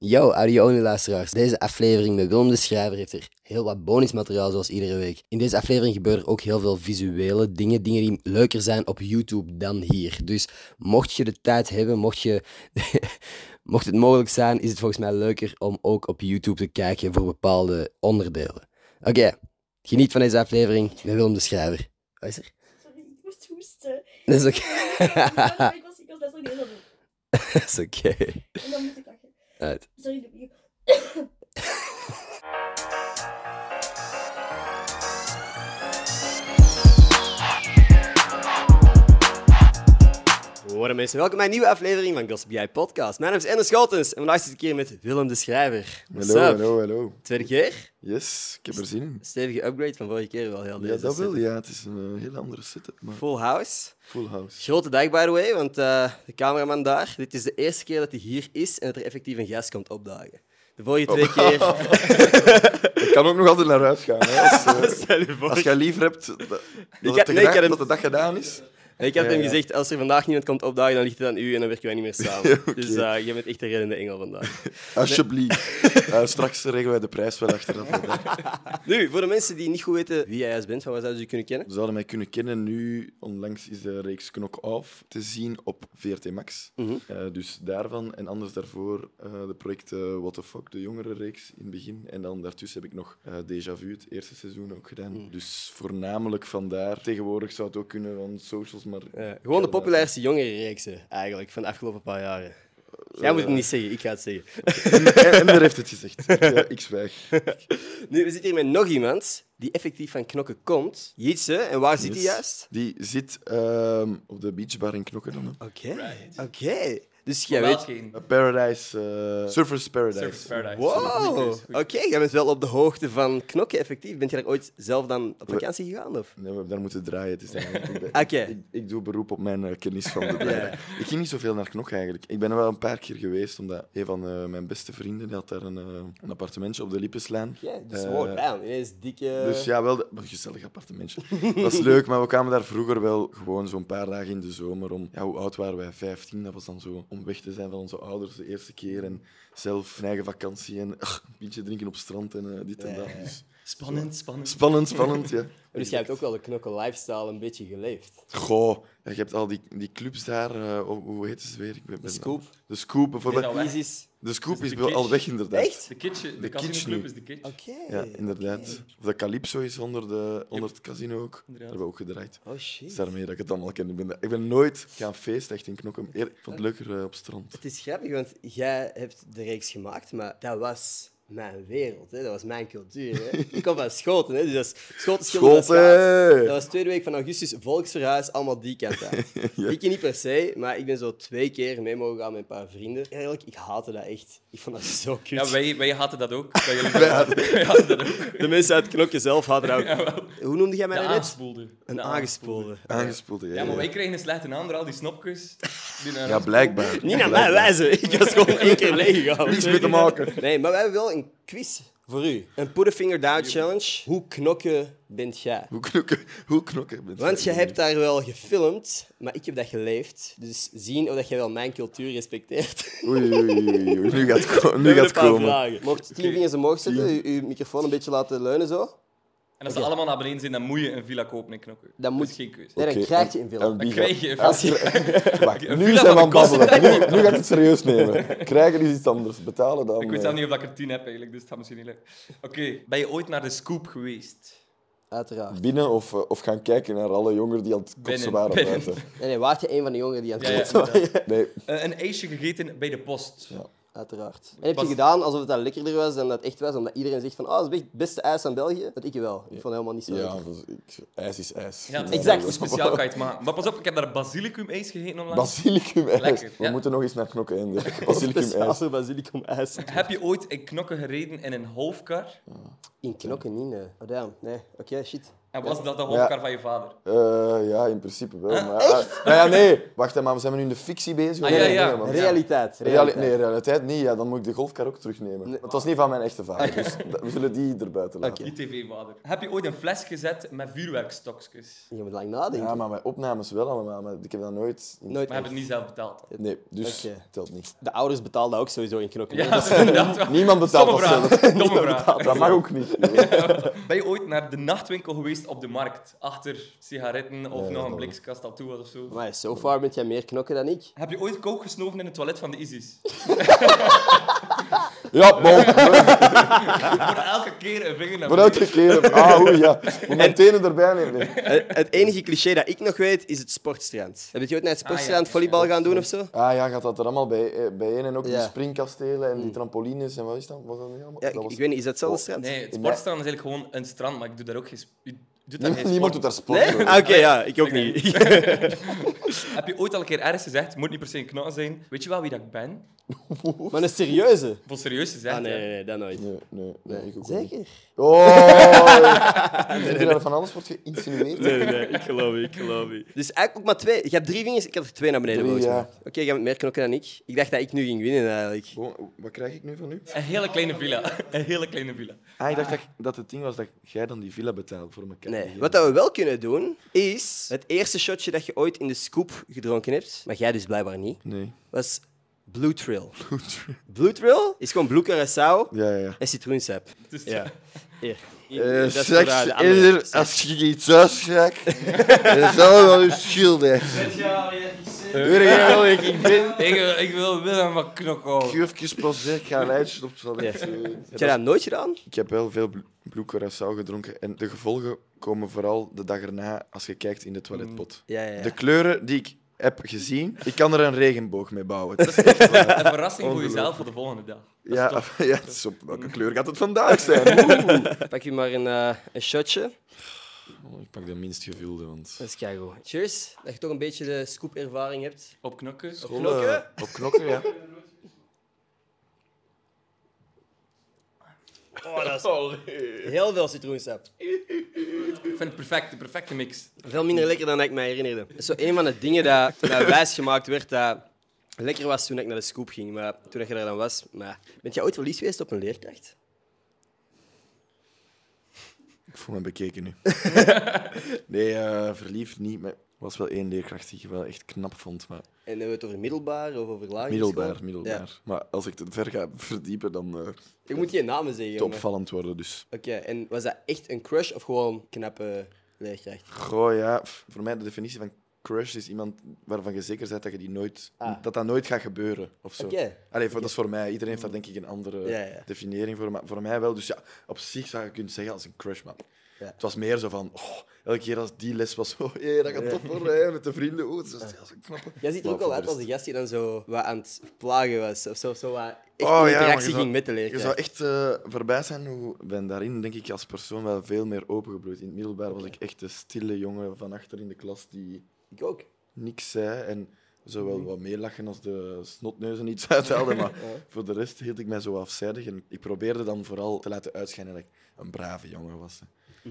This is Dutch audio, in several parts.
Yo, audio luisteraars. Deze aflevering met Willem de Schrijver heeft er heel wat bonusmateriaal zoals iedere week. In deze aflevering gebeuren ook heel veel visuele dingen, dingen die leuker zijn op YouTube dan hier. Dus mocht je de tijd hebben, mocht, je, mocht het mogelijk zijn, is het volgens mij leuker om ook op YouTube te kijken voor bepaalde onderdelen. Oké, geniet van deze aflevering met Willem de Schrijver. Wat is er? Sorry, ik moest hoesten. Dat is oké. ik was ik was net zo niet eens Dat is oké. En dan moet ik lachen. Uit. Sorry, doe Goedemorgen mensen, welkom bij een nieuwe aflevering van Gossip Guy Podcast. Mijn naam is Ender Schotens en vandaag zit ik hier met Willem de Schrijver. What's Hallo, up? hallo, hallo. Tweede keer? Yes, ik heb er zin in. Stevige upgrade van vorige keer wel heel Ja, deze dat set. wil Ja, het is een eh, hele andere setup, maar Full house. full house. Grote dag, by the way, want eh, de cameraman daar, dit is de eerste keer dat hij hier is en dat er effectief een gast komt opdagen. De vorige Oh. twee keer... Ik kan ook nog altijd naar huis gaan. Hè. Als, eh, Stel je voor. als jij liever hebt dat, dat, nee, het ik gedaan- had hem- dat de dag gedaan is. Ik heb Ja, hem ja. gezegd, als er vandaag niemand komt opdagen, dan ligt het aan u en dan werken wij niet meer samen. Oké. Dus eh jij bent echt de reddende engel vandaag. Alsjeblieft. Eh, straks regelen wij de prijs wel achteraf. wel, hè. nu, voor de mensen die niet goed weten wie jij juist bent, van waar zouden ze je kunnen kennen? Ze zouden mij kunnen kennen nu. Onlangs is de reeks Knock Off te zien op VRT Max. Mhm. Eh, dus daarvan en anders daarvoor eh, de projecten What the Fuck, de jongere reeks in het begin. En dan daartussen heb ik nog eh Deja Vu, het eerste seizoen ook gedaan. Mhm. Dus voornamelijk vandaar. Tegenwoordig zou het ook kunnen van socials, maar... Eh, gewoon de populairste jongerenreeksen, eigenlijk, van de afgelopen paar jaren. Jij moet het niet zeggen, ik ga het zeggen. En, en daar heeft het gezegd. Ik, eh, ik zwijg. Nu, we zitten hier met nog iemand die effectief van knokken komt. Jitse, en waar zit hij Yes. juist? Dus Ah. Die zit ehm, op de beachbar in Knokken dan. hè. Oké, oké. Dus jij weet... geen Eh, Paradise... eh, Surfers Paradise. Surface Paradise. Wow, Goed. oké, jij bent wel op de hoogte van knokken, effectief. Bent je daar ooit zelf dan op vakantie gegaan? Of? Nee, we hebben daar moeten draaien. Het is eigenlijk- ik, ben- Oké. ik, ik doe beroep op mijn eh, kennis van de draaien. Ik ging niet zoveel naar Knok eigenlijk. Ik ben er wel een paar keer geweest, omdat een van eh, mijn beste vrienden die had daar een, eh, een appartementje op de Lippenslaan. Ja, dus Eh, gewoon bam, ineens dikke... dus ja, wel de- een gezellig appartementje. Dat is leuk, maar we kwamen daar vroeger wel gewoon zo'n paar dagen in de zomer om. Ja, hoe oud waren wij? 15. Dat was dan zo om weg te zijn van onze ouders de eerste keer. En zelf een eigen vakantie en ah, een biertje drinken op strand en eh, dit en dat. Dus Spannend, spannend. spannend, spannend, ja. Dus jij hebt ook wel de knokken lifestyle een beetje geleefd. Goh, ja, je hebt al die, die clubs daar, eh, hoe- hoe heet ze weer? Ik ben- ben- Scoop. De Scoop bijvoorbeeld. Is al weg? Isis. De Scoop Is is, de wel al kitsch. weg, inderdaad. Echt? De kitchen, de, De kitsch casino club nu. is de kitsch. Oké. Ja, inderdaad. Of de Calypso is onder, de, onder het casino ook. Daar Inderdaad. hebben we ook gedraaid. Oh Het is shit. daarmee dat ik het allemaal ken. Ik ben, ik ben nooit gaan feesten, echt in Knokken. Eer- Ik vond het leuker eh, op strand. Het is grappig, want jij hebt de reeks gemaakt, maar dat was mijn wereld, hè? dat was mijn cultuur. Hè? Ik kom van Schoten, hè? dus dat is Schoten, Schilder, Schoten! Dat was tweede week van augustus, volksverhuis, allemaal die kant uit. Ik niet per se, maar ik ben zo twee keer mee mogen gaan met een paar vrienden. Eigenlijk, ik haatte dat echt. Ik vond dat zo kut. Ja, wij, wij hadden dat ook. Wij, jullie- wij hadden dat ook. De mensen uit Knokje zelf hadden dat ook. Hoe noemde jij mij De dat net? aangespoelde. Nou. Een De aangespoelde. Aangespoeld, ja. Ah. Ja, maar ja. wij kregen een slechte naam door al die snopjes. Die eh, naar Ja, ons- blijkbaar. Niet naar mij wijzen. Ik was gewoon één keer leeggegaan. Niks mee te maken. Nee, maar we hebben wel een quiz voor u. Een Put a Finger Down Challenge. Hoe knokken bent jij? Hoe knokken, hoe knokken mensen. Want je hebt daar wel gefilmd, maar ik heb dat geleefd. Dus zien of dat jij wel mijn cultuur respecteert. Oei, oei, oei, oei, oei. Nu gaat het ko- nu We hebben gaat een het paar komen. vragen. Mocht tien vingers omhoog zetten, uw, uw microfoon een beetje laten leunen zo. En als ze allemaal naar beneden zijn, dan moet je een villa kopen en knokken. Dan moet- Dat is geen keuze. Nee, dan Oké, krijg je een en- en film. wie gaat- Dan krijg je een Als villa. je... Wacht, Een nu villa zijn we aan van het de kosten. babbelen. Nu, nu gaat het serieus nemen. Krijgen is iets anders. Betalen dan... Ik weet eh, zelf niet of ik er tien heb eigenlijk, dus dat gaat misschien niet leuk. Oké, ben je ooit naar de Scoop geweest? Uiteraard. binnen of, eh, of gaan kijken naar alle jongeren die aan het kotsen Binnen, waren binnen. buiten. Nee, nee, waard je een van de jongeren die aan het Ja, ja, kotsen waren? Nee, Eh, een ijsje gegeten bij de post. Ja. uiteraard. En heb je Was- gedaan alsof het dan lekkerder was dan dat het echt was, omdat iedereen zegt van, ah, dat is echt het beste ijs aan België? Dat ik wel. Ik vond het helemaal niet zo Ja, lekker. dat is- ik- ijs is ijs. Ja, het is Exact. Hoe speciaal kan je het maken. Maar pas op, ik heb daar basilicum ijs gegeten onlangs. Basilicum ijs. Lekker, We ja. moeten nog eens naar knokken eindigen. Basilicum Speciaal ijs. voor basilicum ijs. Heb je ooit in knokken gereden in een halfkar? In knokken niet, nee. Oh, damn. Nee, oké, shit. En was dat de halfkar van je vader? Eh, ja, in principe wel. Maar, Ah, nou ja, nee. Wacht, hè, maar we zijn nu in de fictie bezig. Ah, ja, Nee, nee, ja. nee, man. Realiteit. Reali- realiteit. nee, realiteit niet. Ja, dan moet ik de golfkar ook terugnemen. Want Het was niet van mijn echte vader, dus da- we zullen die erbuiten laten. Je tv-vader. Heb je ooit een fles gezet met vuurwerkstokjes? Je moet lang nadenken. Ja, maar mijn opnames wel allemaal, maar ik heb dat nooit... Nooit Maar hebben het niet zelf betaald. Nee, dus Oké. telt niet. De ouders betaalden ook sowieso in knokken. Ja, inderdaad. wel. Niemand betaalt Stomme dat zelf. vraag. Domme vraag. Dat mag ook niet. joh. Ben je ooit naar de nachtwinkel geweest op de markt? Achter sigaretten of Nee, nog dat een blikskast dat toe was of zo? Maar so far ben jij meer knokken dan ik. Heb je ooit kook gesnoven in het toilet van de ISIS? Ja, bom. Voor elke keer een vinger naar Voor beneden. elke keer. Ah, oei, ja. Moet mijn tenen erbij nemen. Nee. Het enige cliché dat ik nog weet is het sportstrand. Heb je ooit naar het sportstrand Ah, ja. volleybal gaan doen of zo? Ah ja, gaat dat er allemaal bij, eh, bijeen? En ook Ja. die springkastelen en die trampolines en wat is dat? Was dat niet allemaal? Ja, Dat ik, was- ik weet niet, is dat hetzelfde strand? Nee, het sportstrand is eigenlijk gewoon een strand, maar ik doe daar ook geen... sp- u doet daar geen Niemand, sport. niemand doet daar sport Nee? voor. Ah, Oké, ja, ik ook niet. Heb je ooit al een keer ergens gezegd, moet niet per se een knal zijn, weet je wel wie dat ik ben? maar een serieuze? Voor serieus gezegd, Ah, nee, ja. nee, nee, dat nooit. Nee, nee, nee, ik ook niet. Zeker? Oh! Ik vind dat er van alles wordt geïnsinueerd. Nee, nee, nee, ik geloof je, ik geloof je. Dus eigenlijk ook maar twee. Je hebt drie vingers, ik had er twee naar beneden Drie, volgens mij. ja. Oké, jij bent meer knokken dan ik. Ik dacht dat ik nu ging winnen eigenlijk. Gewoon, oh, wat krijg ik nu van u? Een hele kleine villa. Een hele kleine villa. Ah, ik dacht dat, dat het ding was dat jij dan die villa betaalt voor elkaar. Nee, wat dat we wel kunnen doen, is het eerste shotje dat je ooit in de scoop gedronken hebt, maar jij dus blijkbaar niet, Nee. was Blue Trail. Blue Trail, is gewoon blue curaçao Ja, ja, ja. en citroensap. Dus Ja. Hier. Eh, Dat is voor seks de- de andere. eerder als je iets uitschrijft, dan zal het wel uw schilder. Doe er geen wel, ik ben... Ik, wil- ik wil Willem van Knokko. Geurfjes Prosecco, ga lijstje op het toilet. Heb jij dat nooit gedaan? Ik heb wel veel bl- Blue Curaçao gedronken en de gevolgen komen vooral de dag erna als je kijkt in de toiletpot. Ja, ja, ja. De kleuren die ik heb gezien, ik kan er een regenboog mee bouwen. Het is Een verrassing voor jezelf voor de volgende dag. Ja, ja het is op welke kleur gaat het vandaag zijn? Pak je maar een, eh, een shotje. Oh, ik pak de minst gevulde, want... Dat is keigoed. Cheers, dat je toch een beetje de scoop-ervaring hebt. Op knokken. Op knokken? Oh, eh, Op knokken, ja. Heel veel citroensap. Ik vind het perfect, de perfecte mix. Veel minder lekker dan ik me herinnerde. Dat is zo een van de dingen dat, dat wijsgemaakt werd dat lekker was toen ik naar de scoop ging. Maar toen je daar dan was... Maar... Bent jij ooit verliefd geweest op een leerkracht? Ik voel me bekeken nu. nee, eh, verliefd niet, maar er was wel één leerkracht die ik wel echt knap vond, maar... En hebben we het over middelbaar of over lagere Middelbaar, school? middelbaar. Ja. Maar als ik het ver ga verdiepen, dan eh Ik moet geen namen zeggen. te maar- opvallend worden, dus... Oké, en was dat echt een crush of gewoon knappe leerkracht? Goh, ja. pff, Voor mij de definitie van crush is iemand waarvan je zeker bent dat je die nooit, Ah. dat, dat nooit gaat gebeuren. Of zo. Oké. Allee, voor, dat is voor mij. Iedereen heeft daar denk ik een andere Ja, ja. definiëring voor. Maar voor mij wel. Dus ja, op zich zou je kunnen zeggen als een crush, man. Ja. Het was meer zo van, oh, elke keer als die les was, oh, hé, dat gaat top worden, hè, met de vrienden. Oh, dat is, dat is een knappe. Jij ziet er Maar ook wel voor uit de als rest- een gast die dan zo wat aan het plagen was. Of zo, zo wat echt in Oh, ja, maar je interactie zou- ging met de Je leerkracht. zou echt eh voorbij zijn hoe ik ben daarin, denk ik, als persoon wel veel meer opengebloeid. In het middelbaar was ik echt de stille jongen van achter in de klas die Ik ook. niks zei en zo wel wat meelachen als de snotneuzen iets uithaalden, maar voor de rest hield ik mij zo afzijdig en ik probeerde dan vooral te laten uitschijnen dat ik een brave jongen was.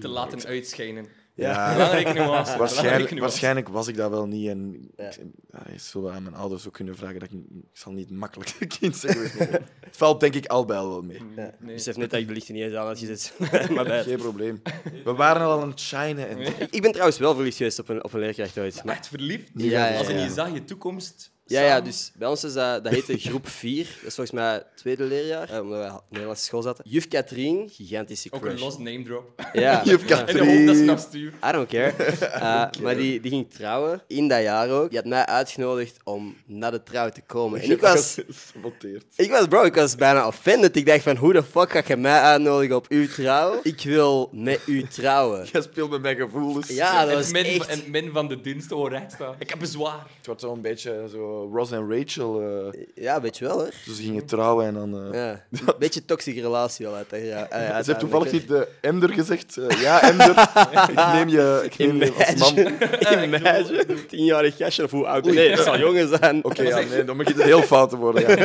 Te laten uitschijnen. Ja, Belangrijke nuance. belangrijke waarschijnlijk, nuance. waarschijnlijk was ik dat wel niet en Ja. ik, ja, ik zou wel aan mijn ouders ook kunnen vragen dat ik, ik zal niet makkelijk een kind zijn geweest. maar Het valt denk ik al bij al wel mee. Ja. Nee. Besef net dat ik de lichten niet eens aan als je zit. maar bij. Geen probleem. We waren al aan het shinen en Ik, ik ben trouwens wel verliefd geweest op een, op een leerkracht ooit. Maar Echt verliefd. Ja, ja, ja, Als in ja. je zag je toekomst. Ja, samen. ja, dus bij ons is dat, dat heette groep 4. Dat is volgens mij het tweede leerjaar, eh, omdat wij op Nederlandse school zaten. Juf Katrien, gigantische Ook een crush. los name drop. Ja, Juf En de hoop dat ze Katrien. naar stuur. I don't care. Eh, maar die, die ging trouwen, in dat jaar ook. Die had mij uitgenodigd om naar de trouw te komen. En ik was, Gesaboteerd. ik was, bro, ik was bijna offended. Ik dacht van, hoe de fuck ga je mij uitnodigen op uw trouw? Ik wil met u trouwen. Jij speelt met mijn gevoelens. Ja, dat En was min, echt... en min van de dienst hoor recht staan. Ik heb bezwaar. Het wordt zo'n beetje zo eh, Ross en Rachel. eh, Ja, weet je wel hoor. dus ze gingen trouwen en dan. eh, Ja. Beetje toxische relatie al uit. hè, Ja, Ah, ja, Ze heeft uiteindelijk, toevallig hè. niet de Ender gezegd. eh, ja, Ender, ik neem je, ik neem je als man. Oké, Imagine, een tienjarig gastje of hoe oud? Nee, het zal jonger zijn. ja, nee, dan begint het heel fout te worden. Ja.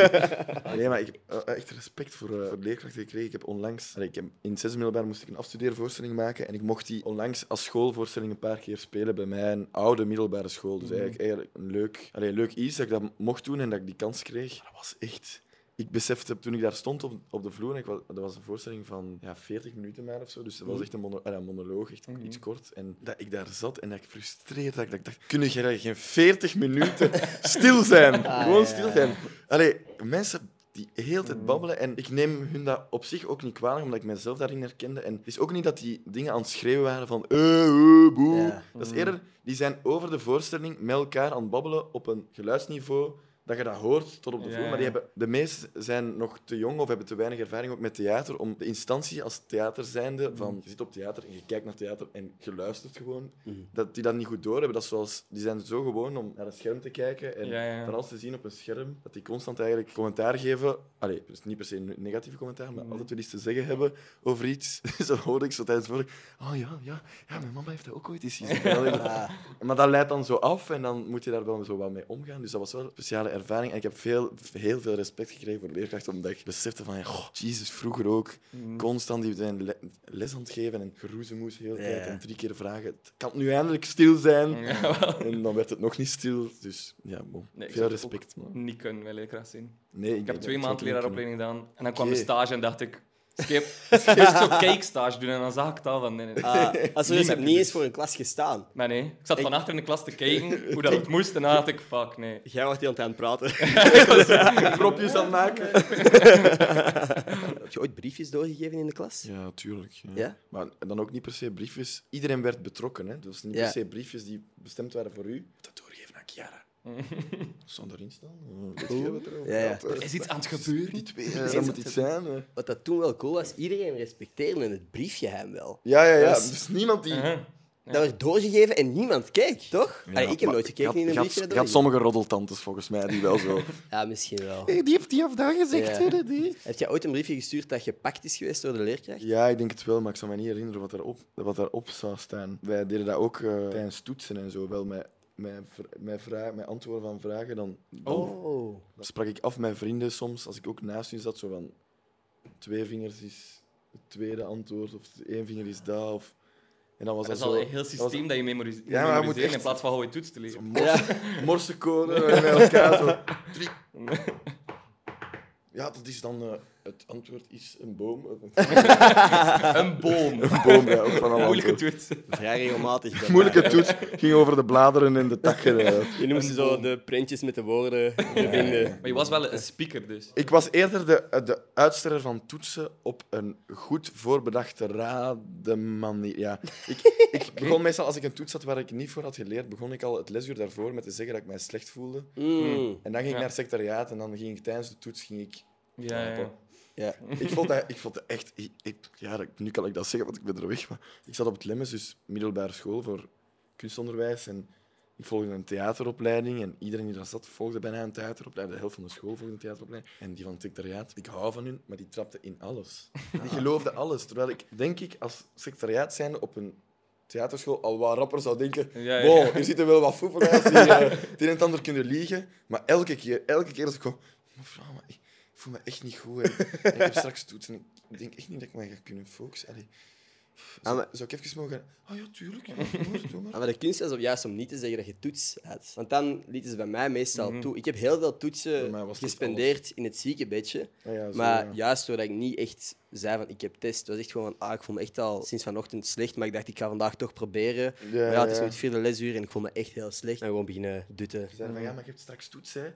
Nee, maar ik heb eh, echt respect voor, eh, voor leerkrachten gekregen. Ik heb onlangs, ik heb, in het zesde middelbaar moest ik een afstudeervoorstelling maken en ik mocht die onlangs als schoolvoorstelling een paar keer spelen bij mijn oude middelbare school. Dus eigenlijk, eigenlijk een leuk, allee, leuk iets dat ik dat mocht doen en dat ik die kans kreeg. Maar dat was echt... Ik besefte toen ik daar stond op, op de vloer, en ik was, dat was een voorstelling van ja, 40 minuten maar of zo, dus dat Mhm. was echt een, mono- eh, een monoloog, echt iets kort. En dat ik daar zat en dat ik frustreerd dat ik, dat ik dacht, kunnen jij geen 40 minuten stil zijn? Ah, Gewoon stil zijn. Allee, mensen die heel de Mhm. tijd babbelen en ik neem hun dat op zich ook niet kwalijk, omdat ik mezelf daarin herkende. En het is ook niet dat die dingen aan het schreeuwen waren van eh, eh, boe. Ja. Dat is Mhm. eerder, die zijn over de voorstelling met elkaar aan het babbelen op een geluidsniveau dat je dat hoort tot op de Ja, vloer. Maar ja. die hebben, de meesten zijn nog te jong of hebben te weinig ervaring ook met theater om de instantie als theater zijnde van je zit op theater en je kijkt naar theater en je luistert gewoon, dat die dat niet goed doorhebben. Dat is zoals, die zijn zo gewoon om naar een scherm te kijken en Ja, ja. van alles te zien op een scherm, dat die constant eigenlijk commentaar geven. Allee, dus niet per se een negatieve commentaar, maar altijd wel iets te zeggen hebben over iets. Dus dat hoorde ik zo tijdens vorig. Oh ja, ja, ja, mijn mama heeft dat ook ooit eens gezien. En dan denk ik, Maar dat leidt dan zo af en dan moet je daar wel zo wat mee omgaan. Dus dat was wel een speciale ervaring. En ik heb veel, heel veel respect gekregen voor leerkrachten, omdat ik besefte van, goh, jezus, vroeger ook. Mm. Constant die zijn le- les aan het geven en geroezemoes heel de hele tijd Ja. en drie keer vragen. Het kan nu eindelijk stil zijn. En dan werd het nog niet stil. Dus ja, bon. Nee, ik veel zou het respect. man. Niet kunnen bij leerkracht zien. Nee, Ik heb twee maanden leraaropleiding gedaan en dan kwam de Oké. stage en dacht ik, skip. Ik moest zo cake stage doen en dan zag ik dat van nee, nee. nee. Ah, als er Niemand is, heb doet niet het. eens voor een klas gestaan. Maar nee, ik zat van achter in de klas te kijken hoe dat het moest en dan dacht ik, fuck nee. Jij wordt heel aan het praten. propjes aan het maken. heb je ooit briefjes doorgegeven in de klas? Ja, tuurlijk. Ja. Ja? Maar dan ook niet per se briefjes. Iedereen werd betrokken. Hè? Dus niet Ja. per se briefjes die bestemd waren voor u. Dat doorgeven aan Chiara. Stond erin staan? Oh, Weet je wat er Oh. Ja, ja. Er is iets aan het gebeuren. Die twee, eh, dat moet iets zijn. eh. Wat dat toen wel cool was, iedereen respecteerde het briefgeheim wel. Ja, ja, ja. Dat is- Dus niemand die... Huh? Dat werd doorgegeven en niemand keek, toch? Uh-huh. Allee, ik heb nooit gekeken in een briefje. dat Je had doorgegeven. sommige roddeltantes volgens mij die wel zo... Ja, misschien wel. die heeft die of dat gezegd. Ja. hè, die. Heb jij ooit een briefje gestuurd dat gepakt is geweest door de leerkracht? Ja, ik denk het wel, maar ik zou me niet herinneren wat daarop, wat daarop zou staan. Wij deden dat ook eh, tijdens toetsen en zo, wel met, met, vr- met, vragen, met antwoorden van vragen. Dan, dan Oh. sprak ik af met vrienden soms, als ik ook naast hun zat, zo van... Twee vingers is het tweede antwoord, of één vinger is dat, of... En dan was Dat dat, is al zo... een heel dat was systeem dat je memorise- moet maar je moet memoriseren in echt- plaats van gewoon je toets te leren. Morse, morsecode eh, met elkaar, zo... Drie. Ja, dat is dan... eh, het antwoord is een boom. Een Een boom. boom, ja, ook van alle Moeilijke antwoorden. toets. Vrij regelmatig. dat moeilijke toets ging over de bladeren en de takken. eh. Je noemt ze zo de printjes met de woorden verbinden. Maar je was wel een speaker dus. Ik was eerder de, de uitsteller van toetsen op een goed voorbedachte radenmanier. Ja. Ik, ik begon meestal, als ik een toets had waar ik niet voor had geleerd, begon ik al het lesuur daarvoor met te zeggen dat ik mij slecht voelde. Mm. En dan ging ik Ja. naar het secretariaat en dan ging ik tijdens de toets... Ging ik, Ja, ja. Ja. ik, vond dat, ik vond dat echt... Ik, ik- ja, dat- nu kan ik dat zeggen, want ik ben er weg. Maar ik zat op het Lemmens, dus middelbare school voor kunstonderwijs. En ik volgde een theateropleiding en iedereen die daar zat volgde bijna een theateropleiding. De helft van de school volgde een theateropleiding. En die van het secretariaat, ik hou van hun, maar die trapte in alles. Die geloofde alles. Terwijl ik, denk ik, als secretariaat zijnde op een theaterschool al wat rapper zou denken... Ja, ja. Wow, hier zitten wel wat foefelaars die eh, het een en het ander kunnen liegen. Maar elke keer, elke keer als ik gewoon... Mevrouw, maar ik ik voel me echt niet goed. hè. En ik heb straks toets en ik denk echt niet dat ik mij ga kunnen focussen. Allee. Ah, Zou, maar- zou ik even mogen... Ah ja, tuurlijk. Ja, doe maar, doe maar. Maar de kunst was om juist om niet te zeggen dat je toets had. Want dan lieten ze bij mij meestal toe. Ik heb heel veel Mhm. Bij mij toetsen was dat gespendeerd in het ziekenbedje. Ah ja, zo, maar ja. juist doordat ik niet echt zei van ik heb test, was echt gewoon van ah, ik voel me echt al sinds vanochtend slecht, maar ik dacht ik ga vandaag toch proberen. Ja, maar ja, het is ja. nu het vierde lesuur en ik voel me echt heel slecht. En gewoon beginnen dutten. Ze zeiden van, ja, maar je hebt straks toets, hè.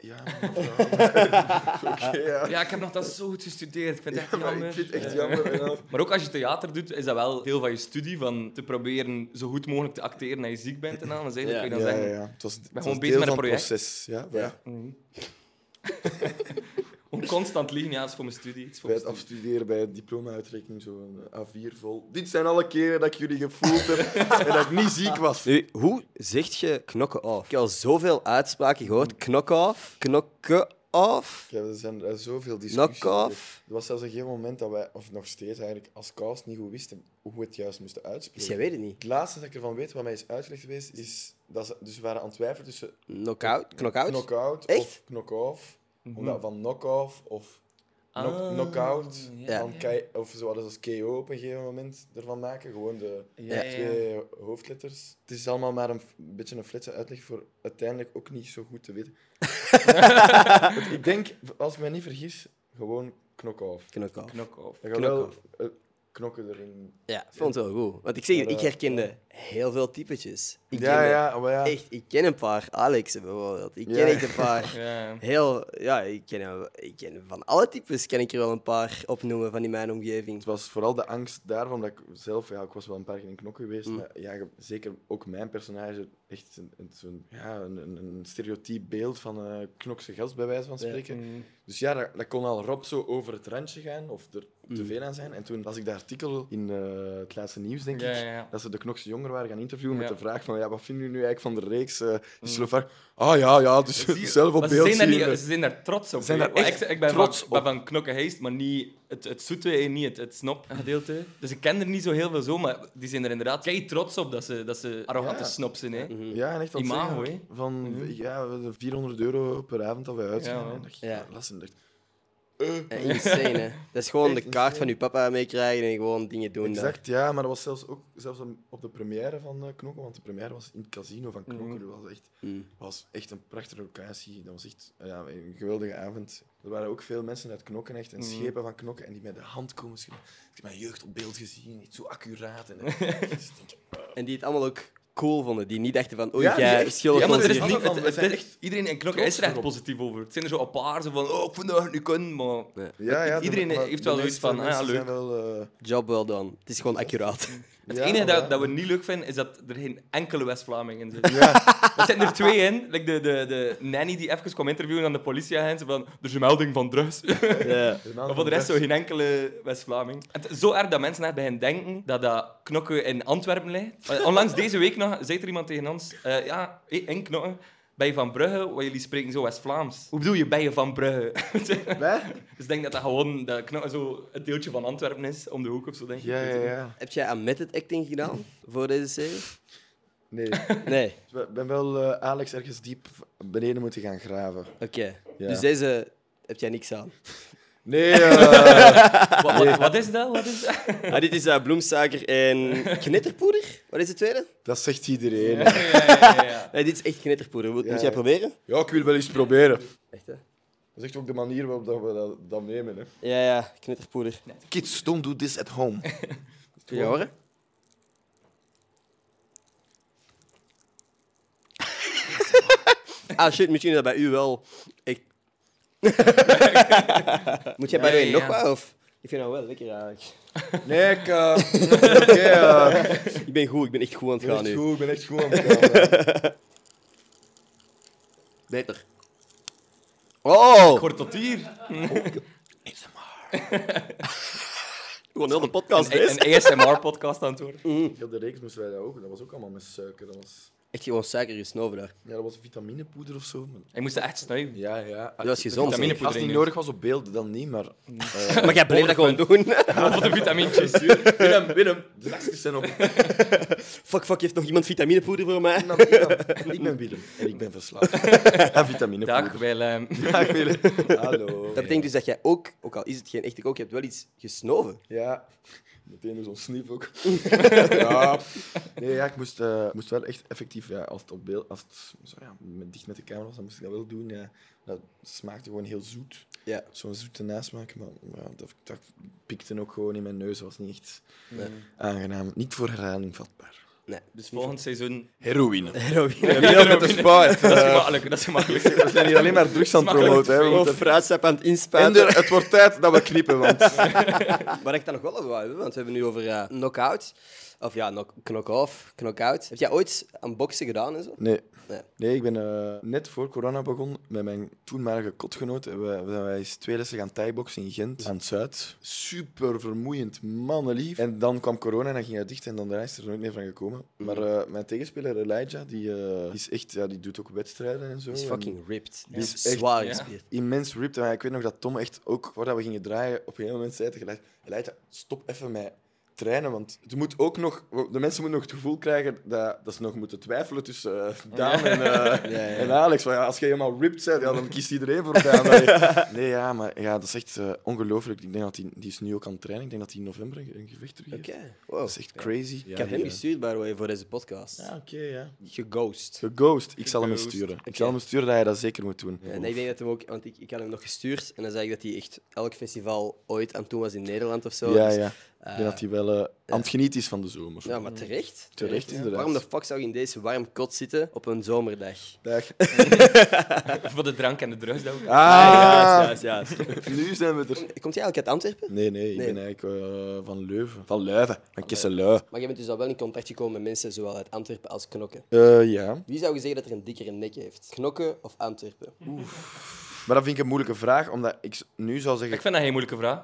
Ja, maar mevrouw. Oké, ja. Ja, ik heb nog dat zo goed gestudeerd. Ik vind het echt Maar jammer. ik vind het echt jammer. En dan- Maar ook als je theater doet, is dat wel deel van je studie, van te proberen zo goed mogelijk te acteren dat je ziek bent en dan. Dan zeg je, Ja. kun je dan Ja, ja, zeggen... ja. Het was, het was gewoon deel bezig met van een project. proces. Ja, ja. Mhm. Om constant liegen, ja, het is voor mijn studie. Het is voor Bij mijn het studie. afstuderen, bij het diploma-uitreiking, zo'n A4 vol. Dit zijn alle keren dat ik jullie gevoeld heb en dat ik niet ziek was. Nu, hoe zeg je knokken af? Ik heb al zoveel uitspraken gehoord. Mm. Knokken af, knokken af, Ja, er zijn er zoveel discussies. knock off. Er was zelfs een gegeven moment dat wij, of nog steeds eigenlijk, als cast niet goed wisten hoe we het juist moesten Dus uitspreken. jij weet het niet. Het laatste dat ik ervan weet, wat mij is uitgelegd geweest, is dat ze, dus we waren aan het twijfelen tussen Knockout, knockout. Eh, knock-out Echt? of knock-off. Omdat van knock-off of knock- Mhm. Ah, knock-out. ja. van K- Of ze hadden als KO op een gegeven moment ervan maken. Gewoon de Ja, ja. twee hoofdletters. Het is allemaal maar een f- een beetje een fletse uitleg voor uiteindelijk ook niet zo goed te weten. Want ik denk, als ik mij niet vergis, gewoon knock-off. Knock-off. Knock-off. Je gaat wel eh, knokken erin. Ja, ik vond het wel goed. Want ik zeg, het, Maar, ik eh, herkende heel veel typetjes. Ik ja, kende ja, maar ja. Echt, ik ken een paar. Alex bijvoorbeeld. Ik ken Ja. echt een paar. Ja. Heel, ja, ik ken, ik ken van alle types ken ik er wel een paar opnoemen van in mijn omgeving. Het was vooral de angst daarvan dat ik zelf, ja, ik was wel een paar keer in knokken geweest, maar ja, je- zeker ook mijn personage, echt een, een- zo'n, ja, een, een, een stereotyp beeld van een knokse gast, bij wijze van spreken. Mm. Dus ja, dat, dat kon al rap zo over het randje gaan of er Mm. te veel aan zijn. En toen las ik dat artikel in eh, het laatste nieuws, denk Ja, ik, ja, ja. dat ze de knokse jongeren waren gaan interviewen Ja. Mm. met de vraag van, ja, wat vinden jullie nu eigenlijk van de reeks? eh de Slovak, ah ja, ja, dus zelf op Maar beeld ze, zijn zien. eh. daar niet, ze zijn daar trots op. zijn hè. daar Want echt ik, ik ben trots van, op. ben van knokken heist, maar niet het, het zoete en niet het, het snopgedeelte. Dus ik ken er niet zo heel veel zo, maar die zijn er inderdaad kei trots op dat ze, dat ze arrogante Ja. Mhm. snop zijn. Hè. Ja, en echt dat Imago, Mm-hmm. zeggen Van ja, we hebben 400 euro per avond dat wij uitgaan. Ja. en dat je Ja. las en dacht, Eh, Insane, hè. Dat is gewoon Echt de kaart insane. van je papa meekrijgen en gewoon dingen doen. daar. exact, ja, maar dat was zelfs ook zelfs om- op de première van eh, Knokken, want de première was in het casino van Knokken. Dat was echt, was echt een prachtige locatie. Dat was echt eh, ja, een geweldige avond. Er waren ook veel mensen uit Knokken echt en schepen van Knokken en die met de hand komen schrijven. Ik heb mijn jeugd op beeld gezien, niet zo accuraat. En, dus ik denk, En die het allemaal ook cool vonden. Die niet dachten van, oei, Ja, die jij echt- schildert Ja, maar ons er is Ja, niet. niet, van, het, we het- zijn het- echt iedereen in knokken trots is er echt erop. positief over. Het zijn er zo een paar zo van, oh, ik vind dat niet kunnen, maar... ja, ja, de- iedereen maar heeft de wel meeste zoiets van, ah, ja, mensen leuk. zijn wel, eh, Job well done. Het is gewoon accuraat. Het ja, enige dat, voilà. dat we niet leuk vinden, is dat er geen enkele West-Vlaming in zit. Er zitten er twee in. Like de, de, de nanny die even kwam interviewen aan de politieagent. Van, er is een melding van drugs. Ja. maar voor de rest zo geen enkele West-Vlaming. Het is zo erg dat mensen naar beginnen denken dat dat knokken in Antwerpen ligt. Eh, Onlangs deze week nog zei er iemand tegen ons... eh, ja, hé, in knokken... Ben je van Brugge? Want jullie spreken zo West-Vlaams. Hoe bedoel je, ben je van Brugge? Wij? dus ik denk dat dat gewoon dat knokken zo het deeltje van Antwerpen is, om de hoek of zo, denk ik. Ja, ja, ja. Heb jij aan met het acting gedaan voor deze serie? Nee. Nee. Ik ben wel eh, Alex ergens diep beneden moeten gaan graven. Oké. Ja. Dus deze heb jij niks aan. Nee, eh, Wat, wat, wat is dat? Wat is dat? Ah, dit is eh, bloemsuiker en knitterpoeder. Wat is de tweede? dat zegt iedereen. Ja, ja, ja, ja. Nee, dit is echt knitterpoeder. Moet, Ja, moet jij ja. proberen? Ja, ik wil wel eens proberen. Echt, hè? Dat is echt ook de manier waarop dat we dat, dat nemen. Hè. Ja, ja, knitterpoeder. Kids, don't do this at home. Kun je horen? ah shit, misschien is dat bij u wel. Ik... Moet jij bij Ja, mij ja, nog ja. wat? Of? Ik vind dat wel lekker eigenlijk. Nee, ik... eh, Oké, eh, ik Ik ben goed, ik ben echt goed aan het ben gaan echt nu. goed, ik ben echt goed aan het gaan, hè. Beter. Oh! Ik hoor tot hier. Gewoon heel de podcast Een, een ASMR-podcast aan het worden. Heel de reeks moesten wij dat ook. Dat was ook allemaal met suiker. Dat was, Echt gewoon suiker gesnoven daar. ja, dat was vitaminepoeder of zo. maar- Hij moest dat echt snuiven. Ja, ja. Dat was gezond. zeg. Vitaminepoeder Als het niet in nodig was op beeld, dan niet, maar... eh, Maar jij bleef dat gewoon doen. Wat de vitamintjes. Willem, Willem, de zakjes zijn op. fuck, fuck, heeft nog iemand vitaminepoeder voor mij? Nam, nam. Ik ben Willem en ik ben verslaafd aan Dag, vitaminepoeder. Willem. Dag Willem. Hallo. Dat betekent dus dat jij ook, ook al is het geen echte kook, je hebt wel iets gesnoven. Ja, meteen zo'n snief ook. ja. Nee, ja, ik moest, eh, moest wel echt effectief, ja, als het op beeld, als het zo, ja, met, dicht met de camera was, dan moest ik dat wel doen. Ja. Dat smaakte gewoon heel zoet. Ja. Zo'n zoete nasmaak, maar ja, dat, eh, Mm. dat pikte ook gewoon in mijn neus. Dat was niet echt aangenaam. Niet voor herhaling vatbaar. Nee. Dus volgend seizoen. Heroïne. Heroïne. Wie dat met de spuit? Dat is Eh, gemakkelijk. Dat is gemakkelijk. we zijn hier alleen maar drugs aan het Smakelijk promoten. hè. We veel. moeten- fruitsap aan het inspuiten. Ender, het wordt tijd dat we knippen, want Waar ik dan nog wel over wou hebben, want we hebben nu over eh knock-out. Of ja, knock- knock-off, knock-out. Heb jij ooit aan boksen gedaan en zo? Nee. Nee. Nee. ik ben eh, net voor corona begon met mijn toenmalige kotgenoot. hebben We, we zijn wij eens twee lessen gaan thaiboxen in Gent, aan het Zuid. Super vermoeiend, mannenlief. En dan kwam corona en dan ging hij dicht en dan daarna is er nooit meer van gekomen. Mm. Maar eh, mijn tegenspeler Elijah, die, eh, die is echt, ja, die doet ook wedstrijden en zo. Die is En- fucking ripped. Die Oh. Ja. is Is echt- zwaar ja. gespierd. immens ripped. En ik weet nog dat Tom echt ook, voordat we gingen draaien, op een gegeven moment zei tegelijk... Leid, stop even met trainen, want het moet ook nog, de mensen moeten nog het gevoel krijgen dat, dat ze nog moeten twijfelen tussen eh, Daan en, eh, en Alex. Want ja, als je helemaal ripped bent, ja, dan kiest iedereen voor Daan. Allee. Nee, ja, maar ja, dat is echt eh, ongelooflijk. Ik denk dat die, die is nu ook aan het trainen. Ik denk dat hij in november een, een gevecht terug heeft. Oké. Dat is echt crazy. Ik heb hem gestuurd, by the way, voor deze podcast. Ja, oké, ja. Geghost. Geghost. Ik zal hem eens Geghost. sturen. Ik Oké. zal hem eens sturen dat hij dat zeker moet doen. En ik denk dat hem ook, want ik, ik had hem nog gestuurd en dan zei ik dat hij echt elk festival ooit aan toe was in Nederland of zo. Ja, Dus, ja. Ik eh, denk dat hij wel eh, aan het genieten is van de zomer. ja, maar terecht. Terecht, ja. inderdaad. Waarom de fuck zou je in deze warm kot zitten op een zomerdag? Dag. Voor de drank en de drugs. Dat ook. Ah, juist, juist. nu zijn we er. Komt jij eigenlijk uit Antwerpen? Nee, nee, ik Nee. ben eigenlijk eh, van Leuven. Van Leuven, van Kesselui. Maar je bent dus al wel in contact gekomen met mensen zowel uit Antwerpen als Knokken. Eh, ja, Wie zou je zeggen dat er een dikkere nek heeft? Knokken of Antwerpen? maar dat vind ik een moeilijke vraag, omdat ik s- nu zou zeggen... Ik vind dat geen moeilijke vraag.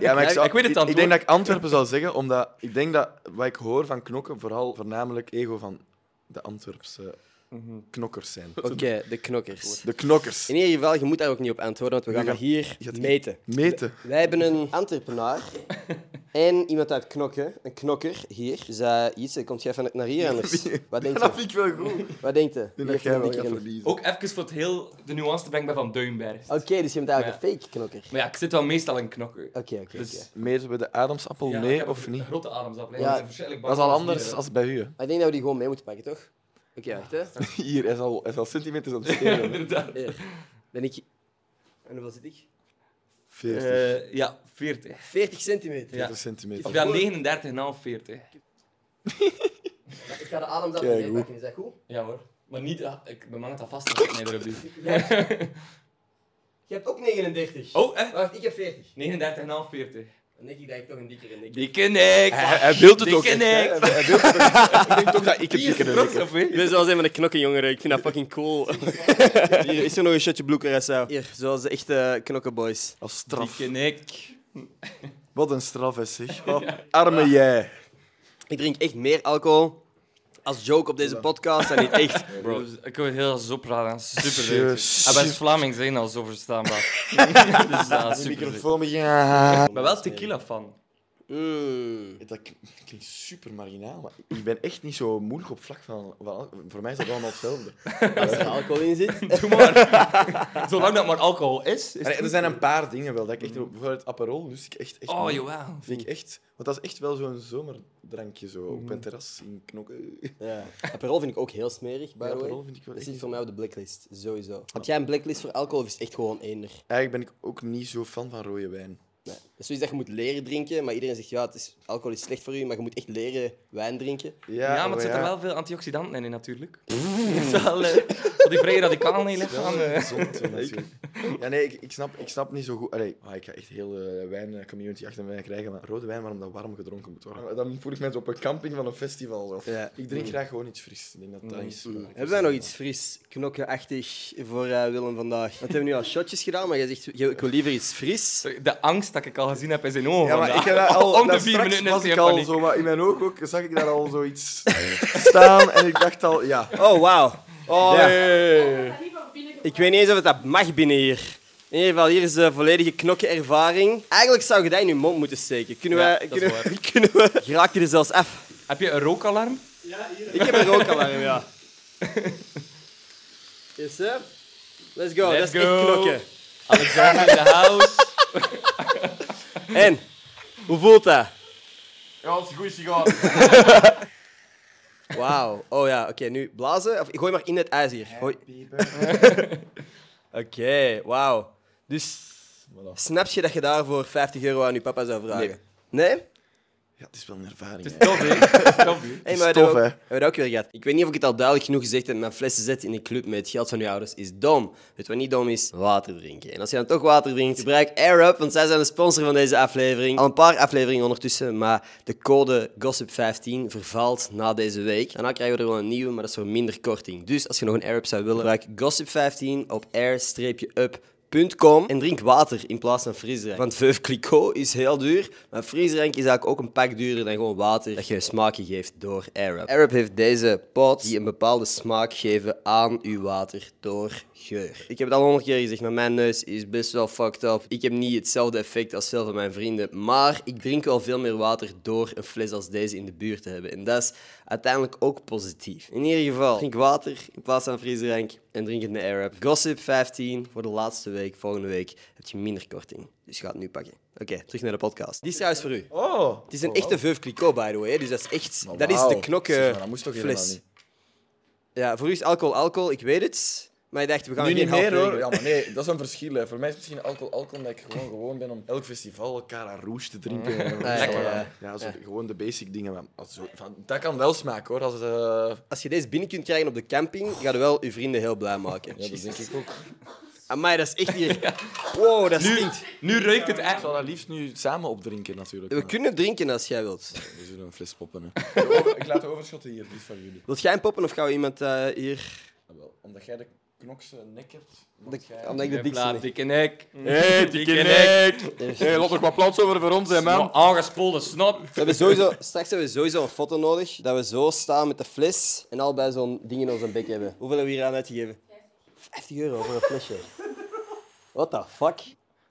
ja, maar Ja, ik weet het ik, antwoord. denk dat ik Antwerpen zou zeggen, omdat ik denk dat wat ik hoor van knokken vooral voornamelijk ego van de Antwerpse Mhm. knokkers zijn. Oké, de knokkers. De knokkers. In ieder geval, je moet daar ook niet op antwoorden, want we gaan gaan- dat hier gaat- meten. Meten. Wij hebben een Antwerpenaar en iemand uit Knokken, een knokker hier. Dus eh Jitse, komt jij van naar hier anders? Wat denk Dat je? vind ik wel goed. Ik Wat denk je? Wie denk dat heeft jij een wel gaat dikkere nek? verliezen. Ook even voor het heel de nuance te brengen bij Van Duinberg. Oké, dus je bent eigenlijk een fake knokker. Maar ja, ik zit wel meestal in knokken. Oké, oké, Dus- oké. Meten we de adamsappel Ja, ik nee heb of een niet? Grote ademsappel. Ja. Ja. Dat is al anders dan bij u. hè. Maar Ik denk dat we die gewoon mee moeten pakken, toch? Oké, wacht hè. Hier, hij is al, hij is al centimeters aan het schelen. hè. Hier. Ben ik... En hoeveel zit ik? 40, Eh, ja, 40. 40 centimeter. Ja. 40 centimeter. Of ja, 39,5, 40. Ik ga de adem Kijk, mee pakken, is dat goed? Ja hoor. Maar niet, ah, ik ben bang dat dat vast is. Nee, erop doe. Je hebt ook 39. Oh, echt? Wacht, ik heb 40. 39,5, 40. Dan denk ik dat ik toch een dikkere nek heb. Dikke nek! Hij, hij wil het Dikke ook. echt, hè. nek. Hij- hij wil het ook. Ik denk toch dat ik het dikker Trots op Ik wie? ben zoals een van de knokkenjongeren, ik vind dat fucking cool. Hier is er nog een shotje bloeker zo. Hier, zoals de echte knokkenboys. Als straf. Dikke nek. Wat een straf is, zeg. Oh, arme jij. Ik drink echt meer alcohol als joke op deze podcast dan niet echt. Bro, ik kan het heel zo praten. Super leuk. Jezus. Ah, Bij Vlaming zijn al zo verstaanbaar. dus dat is super leuk. Microfoon, ja. Ik ben wel tequila fan. Mm. Dat kl- dat klinkt super marginaal, maar ik ben echt niet zo moeilijk op vlak van... van- Voor mij is dat allemaal hetzelfde. Als er alcohol in zit. Doe maar. Zolang dat maar alcohol is. is Maar er zijn een paar dingen wel, dat ik echt... Bijvoorbeeld Aperol lust ik echt... echt Oh, niet. jawel. Vind ik echt... Want dat is echt wel zo'n zomerdrankje, zo. Op Mm. een terras, in knokken. Ja. Aperol vind ik ook heel smerig, by Ja, the Aperol way. vind ik wel Dat echt zit voor mij op de blacklist, sowieso. Heb jij een blacklist voor alcohol of is het echt gewoon eender? Eigenlijk ben ik ook niet zo fan van rode wijn. Nee. Dat is zoiets dat je moet leren drinken, maar iedereen zegt ja, het is, alcohol is slecht voor je, maar je moet echt leren wijn drinken. Ja, oh maar het zit er wel veel antioxidanten in, natuurlijk. Mm. Het is wel, eh, wat die vrije radicalen in je lichaam. eh. gezond, zo natuurlijk. Ja, nee, ik, ik, snap, ik snap niet zo goed. Allee, ah, ik ga echt heel eh, wijn community achter mij krijgen, maar rode wijn, waarom dat warm gedronken moet worden? Ah, Mm. Dan voel ik mij zo op een camping van een festival. Zo. Ja. Ik drink graag gewoon iets fris. Ik denk dat dat is. Hebben wij nog iets fris, knokkenachtig voor eh, Willem vandaag? Want we hebben nu al shotjes gedaan, maar jij zegt, "Yo, ik wil liever iets fris. De angst dat ik al gezien heb in zijn ogen. Ja, maar ik heb vandaag. dat al, Om de dat vier straks minuten is was hij ik in al paniek. zo, wat in mijn oog ook, zag ik daar al zoiets staan en ik dacht al, ja. Oh, wauw. Oh, Ja. hey. ga niet van binnen Ik weet niet eens of het dat mag binnen hier. In ieder geval, hier is de volledige knokkenervaring. Eigenlijk zou je dat in je mond moeten steken. Kunnen Ja, we... dat is Kunnen, we- kunnen we... Je raakt er zelfs af. Heb je een rookalarm? Ik heb een rookalarm, ja. Yes, sir. Let's go. Let's dat is echt go. knokken. Alexander in the house. En, hoe voelt dat? Ja, dat is een goede sigaar. Wauw. Oh ja, oké. nu blazen. Of, gooi maar in het ijs hier. Gooi. Oké, wauw. Dus snap je dat je daarvoor 50 euro aan je papa zou vragen? Nee? Ja, het is wel een ervaring. Het is hè. tof, hè? Het is tof, hè? Hey, is maar we tof, hebben ook- hè? we hebben dat ook weer gehad. Ik weet niet of ik het al duidelijk genoeg gezegd heb, maar flessen zetten in een club met het geld van je ouders is dom. Weet je wat niet dom is? Water drinken. En als je dan toch water drinkt, gebruik AirUp, want zij zijn de sponsor van deze aflevering. Al een paar afleveringen ondertussen, maar de code GOSSIP15 vervalt na deze week. Daarna krijgen we er wel een nieuwe, maar dat is voor minder korting. Dus als je nog een AirUp zou willen, gebruik GOSSIP15 op air-up. Com en drink water in plaats van frisdrank. Want Veuve Clicquot is heel duur, maar frisdrank is eigenlijk ook een pak duurder dan gewoon water dat je een smaakje geeft door Arab. Arab heeft deze pot die een bepaalde smaak geven aan uw water door geur. Ik heb het al honderd keer gezegd, maar mijn neus is best wel fucked up. Ik heb niet hetzelfde effect als veel van mijn vrienden, maar ik drink wel veel meer water door een fles als deze in de buurt te hebben. En dat is uiteindelijk ook positief. In ieder geval, drink water in plaats van frisdrank en drink het met Arab. Gossip 15 voor de laatste week. Volgende week heb je minder korting. Dus ga het nu pakken. Oké, terug naar de podcast. Die is trouwens voor u. Oh. Het is een echte Veuve Clicquot, by the way. hè. Dus dat is echt... Maar dat is de wauw. Zeg knokken maar, dat moest toch helemaal fles. niet? Ja, voor u is alcohol alcohol. Ik weet het. Maar je dacht, we gaan Nu geen niet half meer hoor. uur- Ja, maar nee, dat is een verschil. Hè. Voor mij is misschien alcohol alcohol omdat ik gewoon gewoon ben om elk festival Cara Rouge te drinken. En ja, zo, ja. ja, zo, gewoon de basic dingen. Maar als zo- van, dat kan wel smaken hoor. Als, eh, Als je deze binnen kunt krijgen op de camping, ga je wel je vrienden heel blij maken. ja, dat denk ik ook. Amai, dat is echt hier... Wow, dat Nu, stinkt. nu ruikt het Ik echt. zal dat liefst nu samen opdrinken natuurlijk. We maar kunnen drinken als jij wilt. We zullen een fles poppen. Hè. Over- ik laat de overschotten hier, die is van jullie. Wilt jij hem poppen of gaan we iemand eh, hier... Ah, wel, Omdat jij de knokse nek hebt. De- moet jij- Omdat ik de dikste Plaat, ben. dikke nek. Hey, Mm. dikke nek. Hey, laat nog wat plaats over voor ons, hè, Ah, Sno- Aangespoelde snap. We hebben sowieso, straks hebben we sowieso een foto nodig. Dat we zo staan met de fles en allebei zo'n ding in onze bek hebben. Hoeveel hebben we hier aan uitgegeven? 50 euro voor een flesje. What the fuck?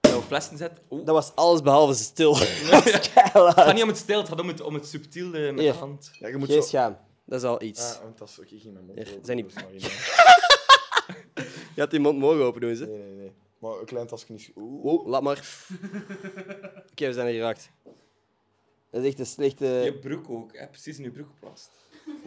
Nou, flessen zet. Oeh. Dat was alles behalve stil. Dat was Het gaat keihard. niet om het stil, het gaat om het, om het subtiele met Hier. de hand. Ja, je moet Geen zo... schaam. Dat is al iets. Ah, want dat is ook ik in mijn mond. Hier, open, zijn die- dus maar in- Je had die mond mogen open doen, ze. Nee, nee, nee. Maar een klein tasje is... Oeh. Wow, laat maar. Oké, we zijn er geraakt. Dat is echt een slechte... Je broek ook, hè? precies in je broek geplast.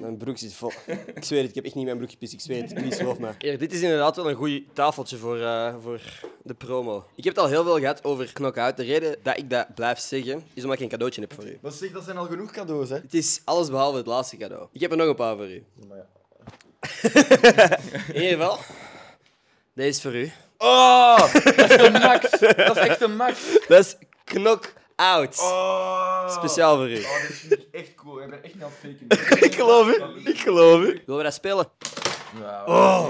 Mijn broek zit vol. Ik zweer het, ik heb echt niet in mijn broek gepist. Ik zweer het, please, geloof me. Ja, dit is inderdaad wel een goed tafeltje voor, eh, voor de promo. Ik heb het al heel veel gehad over knock-out. De reden dat ik dat blijf zeggen, is omdat ik een cadeautje heb voor u. Maar zeg, dat zijn al genoeg cadeaus, hè? Het is alles behalve het laatste cadeau. Ik heb er nog een paar voor u. Maar ja. In ieder geval, deze is voor u. Oh, dat is de max. Dat is echt de max. Dat is knock-out. Oh. Speciaal voor u. Oh, dat vind ik echt cool. Ik ben echt niet aan het faken. Ik geloof u. Ik geloof u. Willen we dat spelen? Oh.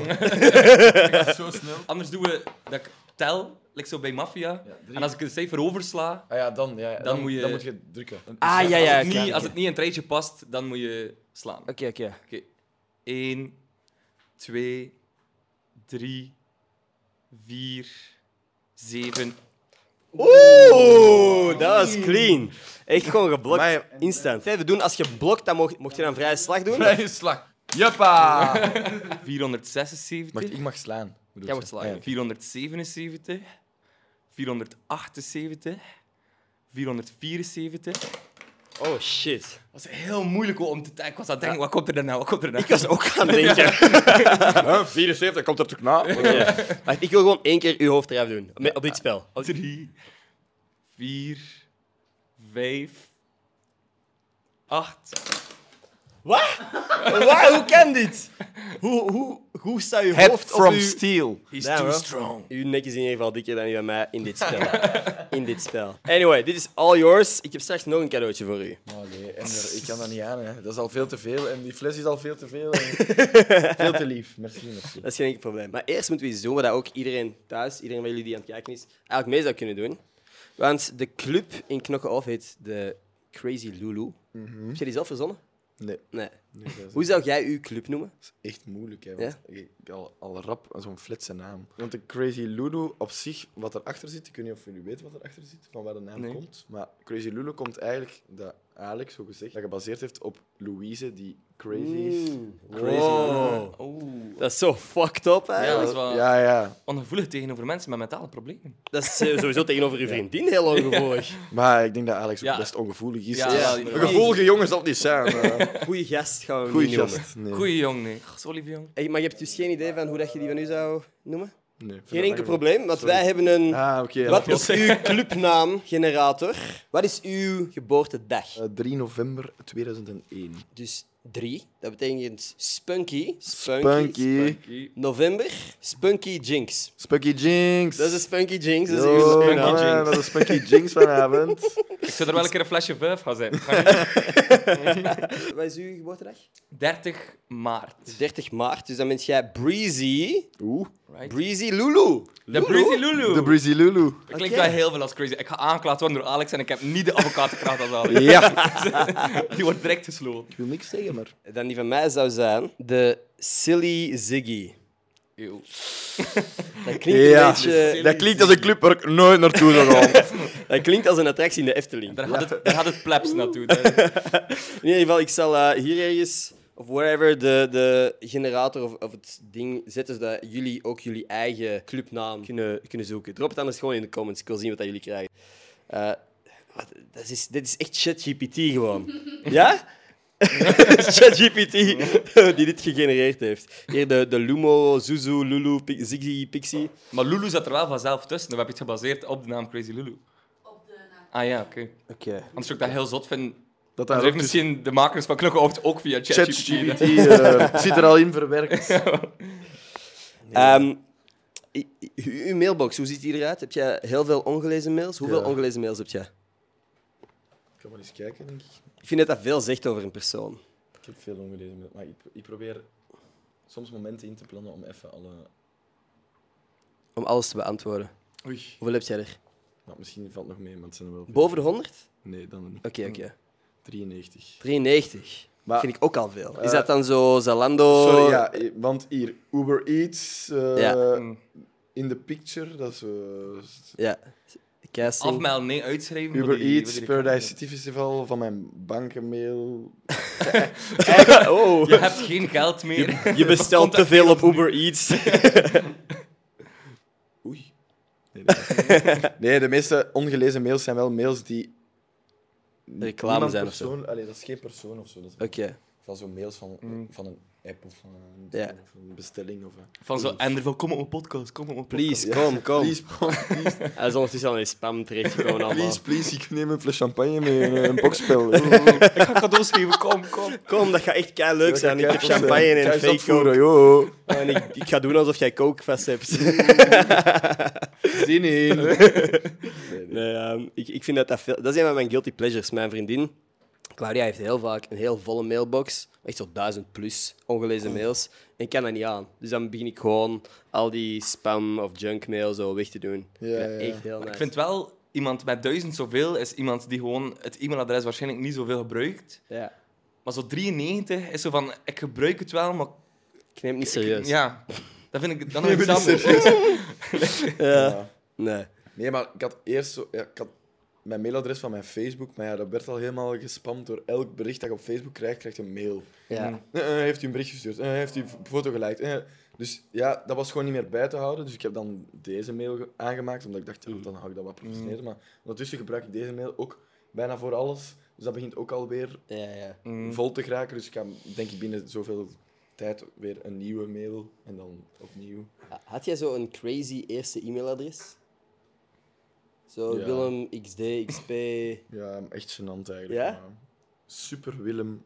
zo snel. Anders doen we dat ik tel, like zo bij Mafia. Ja, drie. en als ik een cijfer oversla, Ah ja, dan, ja, ja, dan, moet je- dan moet je drukken. Ah, ja, ja. als, het Oké, niet, als het niet in het rijtje past, dan moet je slaan. Oké, oké. oké. 1, 2, 3, 4, 7. Oeh, dat was clean. Echt gewoon geblokt. Maar- Instant. Kijk, we doen, als je blokt, dan mocht, mocht je dan vrije slag doen. Ah. Vrije slag. Jeppa. 476. Mag, ik mag slaan. Jij moet slaan. Ja, Oké. 477, 478, 474. Oh shit. Dat was heel moeilijk om te tellen. Ik was aan het denken, wat komt er nou? Wat komt er nou? Ik was ook aan het denken. Huh, 74, komt er toch na? Wacht, ik wil gewoon één keer uw hoofd eraf doen. Met- Op dit spel. Op- 3, 4, 5, 8. Wat? Wat? Hoe kan dit? Hoe, hoe, hoe staat uw Head hoofd from op uw... steel. He's Ja, too wel. strong. Uw nek is in ieder geval dikker dan die van mij in dit spel. In dit spel. Anyway, dit is all yours. Ik heb straks nog een cadeautje voor u. Oh nee, Ender, ik kan dat niet aan. Hè. Dat is al veel te veel. En die fles is al veel te veel. en- veel te lief. Merci, merci. Dat is geen enkel probleem. Maar eerst moeten we iets doen wat ook iedereen thuis, iedereen van jullie die aan het kijken is, eigenlijk mee zou kunnen doen. Want de club in Knokken-Off heet de Crazy Lulu. Heb je die zelf verzonnen? Mhm. Nee, Nee. nee dat is Hoe zou jij uw club noemen? echt moeilijk. Hè, want ik heb al, al rap zo'n fletse naam. Want de Crazy Lulu op zich, wat erachter zit, ik weet niet of jullie weten wat erachter zit, van waar de naam Nee. komt. Maar Crazy Lulu komt eigenlijk, dat Alex, zo gezegd, dat gebaseerd heeft op Louise, die crazy is. Crazy Lulu. Wow. Oeh. Ah. Dat is zo fucked up, Ja, eigenlijk. dat is wel Ja, ja. ongevoelig tegenover mensen met mentale problemen. Dat is eh, sowieso tegenover uw vriendin heel ongevoelig. Maar ik denk dat Alex ook Ja. best ongevoelig is. Ja, Dus ja, een gevoelige jongen zal het niet zijn. maar- Goeie gast gaan we hem Goeie niet noemen. gast. Nee. Goeie jong, nee. Ach, zo lief jong. Hey, maar je hebt dus geen idee van hoe dat je die van u zou noemen? Nee, ik vind Geen dat enkel lang probleem, want Sorry. wij hebben een... Ah, oké. ja, Wat dat is klopt. uw clubnaam, generator? Wat is uw geboortedag? Eh, 3 november 2001. Dus drie. Dat betekent Spunky. Spunky. Spunky. November. Spunky Jinx. Spunky Jinx. Dat is Spunky Jinx. Dat is Yo, uw Spunky spunky. nou, Jinx. Dat is Spunky Jinx vanavond. Ik zou er wel een keer een flesje vijf gaan zijn. Wat is uw geboortedag? 30 maart. 30 maart. Dus dan bent jij Breezy. Oeh. Right? Breezy Lulu. De Breezy De Lulu. Breezy Lulu. Dat klinkt Oké. wel heel veel als crazy. Ik ga aangeklaagd worden door Alex en ik heb niet de advocatenkracht als Alex. Ja. Die wordt direct gesloten. Ik wil niks zeggen, maar... Dan die van mij zou zijn de Silly Ziggy. Eeuw. Dat klinkt Ja. een beetje... Dat klinkt als een club waar ik nooit naartoe zou gaan. Dat klinkt als een attractie in de Efteling. Daar had het, daar had het plebs naartoe. Daar- In ieder geval, ik zal eh, hier ergens of wherever de, de generator of, of het ding zetten, zodat jullie ook jullie eigen clubnaam kunnen, kunnen zoeken. Drop het anders gewoon in de comments. Ik wil zien wat dat jullie krijgen. Eh, wat, dat is, dit is echt ChatGPT gewoon. ja? ChatGPT die dit gegenereerd heeft. Hier de, de Lumo, Zuzu, Lulu, Pi- Ziggy, Pixie. Maar Lulu zat er wel vanzelf tussen. We hebben iets gebaseerd op de naam Crazy Lulu. Op de naam. Ah ja, oké. Oké. Anders zou ik dat heel zot vinden. Dat Dat daar heeft ook tussen- misschien de makers van Knokkenhoofd ook via ChatGPT. ChatGPT eh, het zit er al in verwerkt. Ehm, i- i- uw mailbox, hoe ziet die eruit? Heb jij heel veel ongelezen mails? Hoeveel Ja. ongelezen mails heb jij? Ik kan maar eens kijken, denk ik. Ik vind dat dat veel zegt over een persoon. Ik heb veel ongelezen mail, maar ik, ik probeer soms momenten in te plannen om even alle... Om alles te beantwoorden. Oei. Hoeveel heb jij er? Nou, misschien valt het nog mee, maar het zijn er wel... veel. Boven de 100? Nee, dan niet. Oké, oké. 93. 93. Maar- vind ik ook al veel. Is Eh, dat dan zo Zalando? Sorry, ja, eh, want hier, Uber Eats, eh, Ja. Mm. In the Picture, dat is... eh, s- Ja. Casting. Afmeld, nee, uitschrijven. voor Uber die- voor Eats, die Paradise reclame. City Festival, van mijn bankenmail. Oh. Je hebt geen geld meer. Je bestelt te veel op Uber Eats. Oei. Nee, dat- nee, de meeste ongelezen mails zijn wel mails die... Reclame niemand zijn of zo. persoon- Allee, dat is geen persoon of zo. Dat is Oké. Van zo'n mails van, Mm. van een app of van een, Ja. of een bestelling. Of, een- Van zo, en ervan, kom op mijn podcast, kom op mijn podcast. Please, kom, kom. Please, please, Hij is ondertussen al in spam terechtgekomen allemaal. please, please, ik neem een fles champagne mee en eh, een bokspel. Ik ga cadeaus geven, kom, kom. Kom, dat gaat echt kei leuk zijn. Ik heb champagne en een fake voor coke. joh. En ik, ik ga doen alsof jij coke vast hebt. Zin in. Nee, ehm, ik, ik vind dat dat veel... Dat is een van mijn guilty pleasures. Mijn vriendin, Claudia, heeft heel vaak een heel volle mailbox. Echt zo'n duizend plus ongelezen mails. En ik kan dat niet aan. Dus dan begin ik gewoon al die spam of junkmail zo weg te doen. Ja, ik vind dat ja. echt heel nice. Ik vind wel, iemand met duizend zoveel is iemand die gewoon het e-mailadres waarschijnlijk niet zoveel gebruikt. Ja. Maar zo 93 is zo van, ik gebruik het wel, maar... Ik neem het niet serieus. Ja, dat vind ik dan nog iets bent niet anders. Ja. Nee. Nee, maar ik had eerst zo... Ja, ik had mijn mailadres van mijn Facebook, maar ja, dat werd al helemaal gespamd door elk bericht dat je op Facebook krijgt, krijgt een mail. Ja. Eh, eh, heeft u een bericht gestuurd? Eh, heeft u een foto geliked? Eh, dus ja, dat was gewoon niet meer bij te houden. Dus ik heb dan deze mail ge- aangemaakt, omdat ik dacht, ja, dan hou ik dat wat professioneler. Maar ondertussen gebruik ik deze mail ook bijna voor alles. Dus dat begint ook alweer Ja, ja. Mm. vol te geraken. Dus ik ga, denk ik, binnen zoveel tijd weer een nieuwe mail en dan opnieuw. Had jij zo een crazy eerste e-mailadres? Zo Ja. Willem, XD, XP... Ja, echt gênant eigenlijk. Ja? maar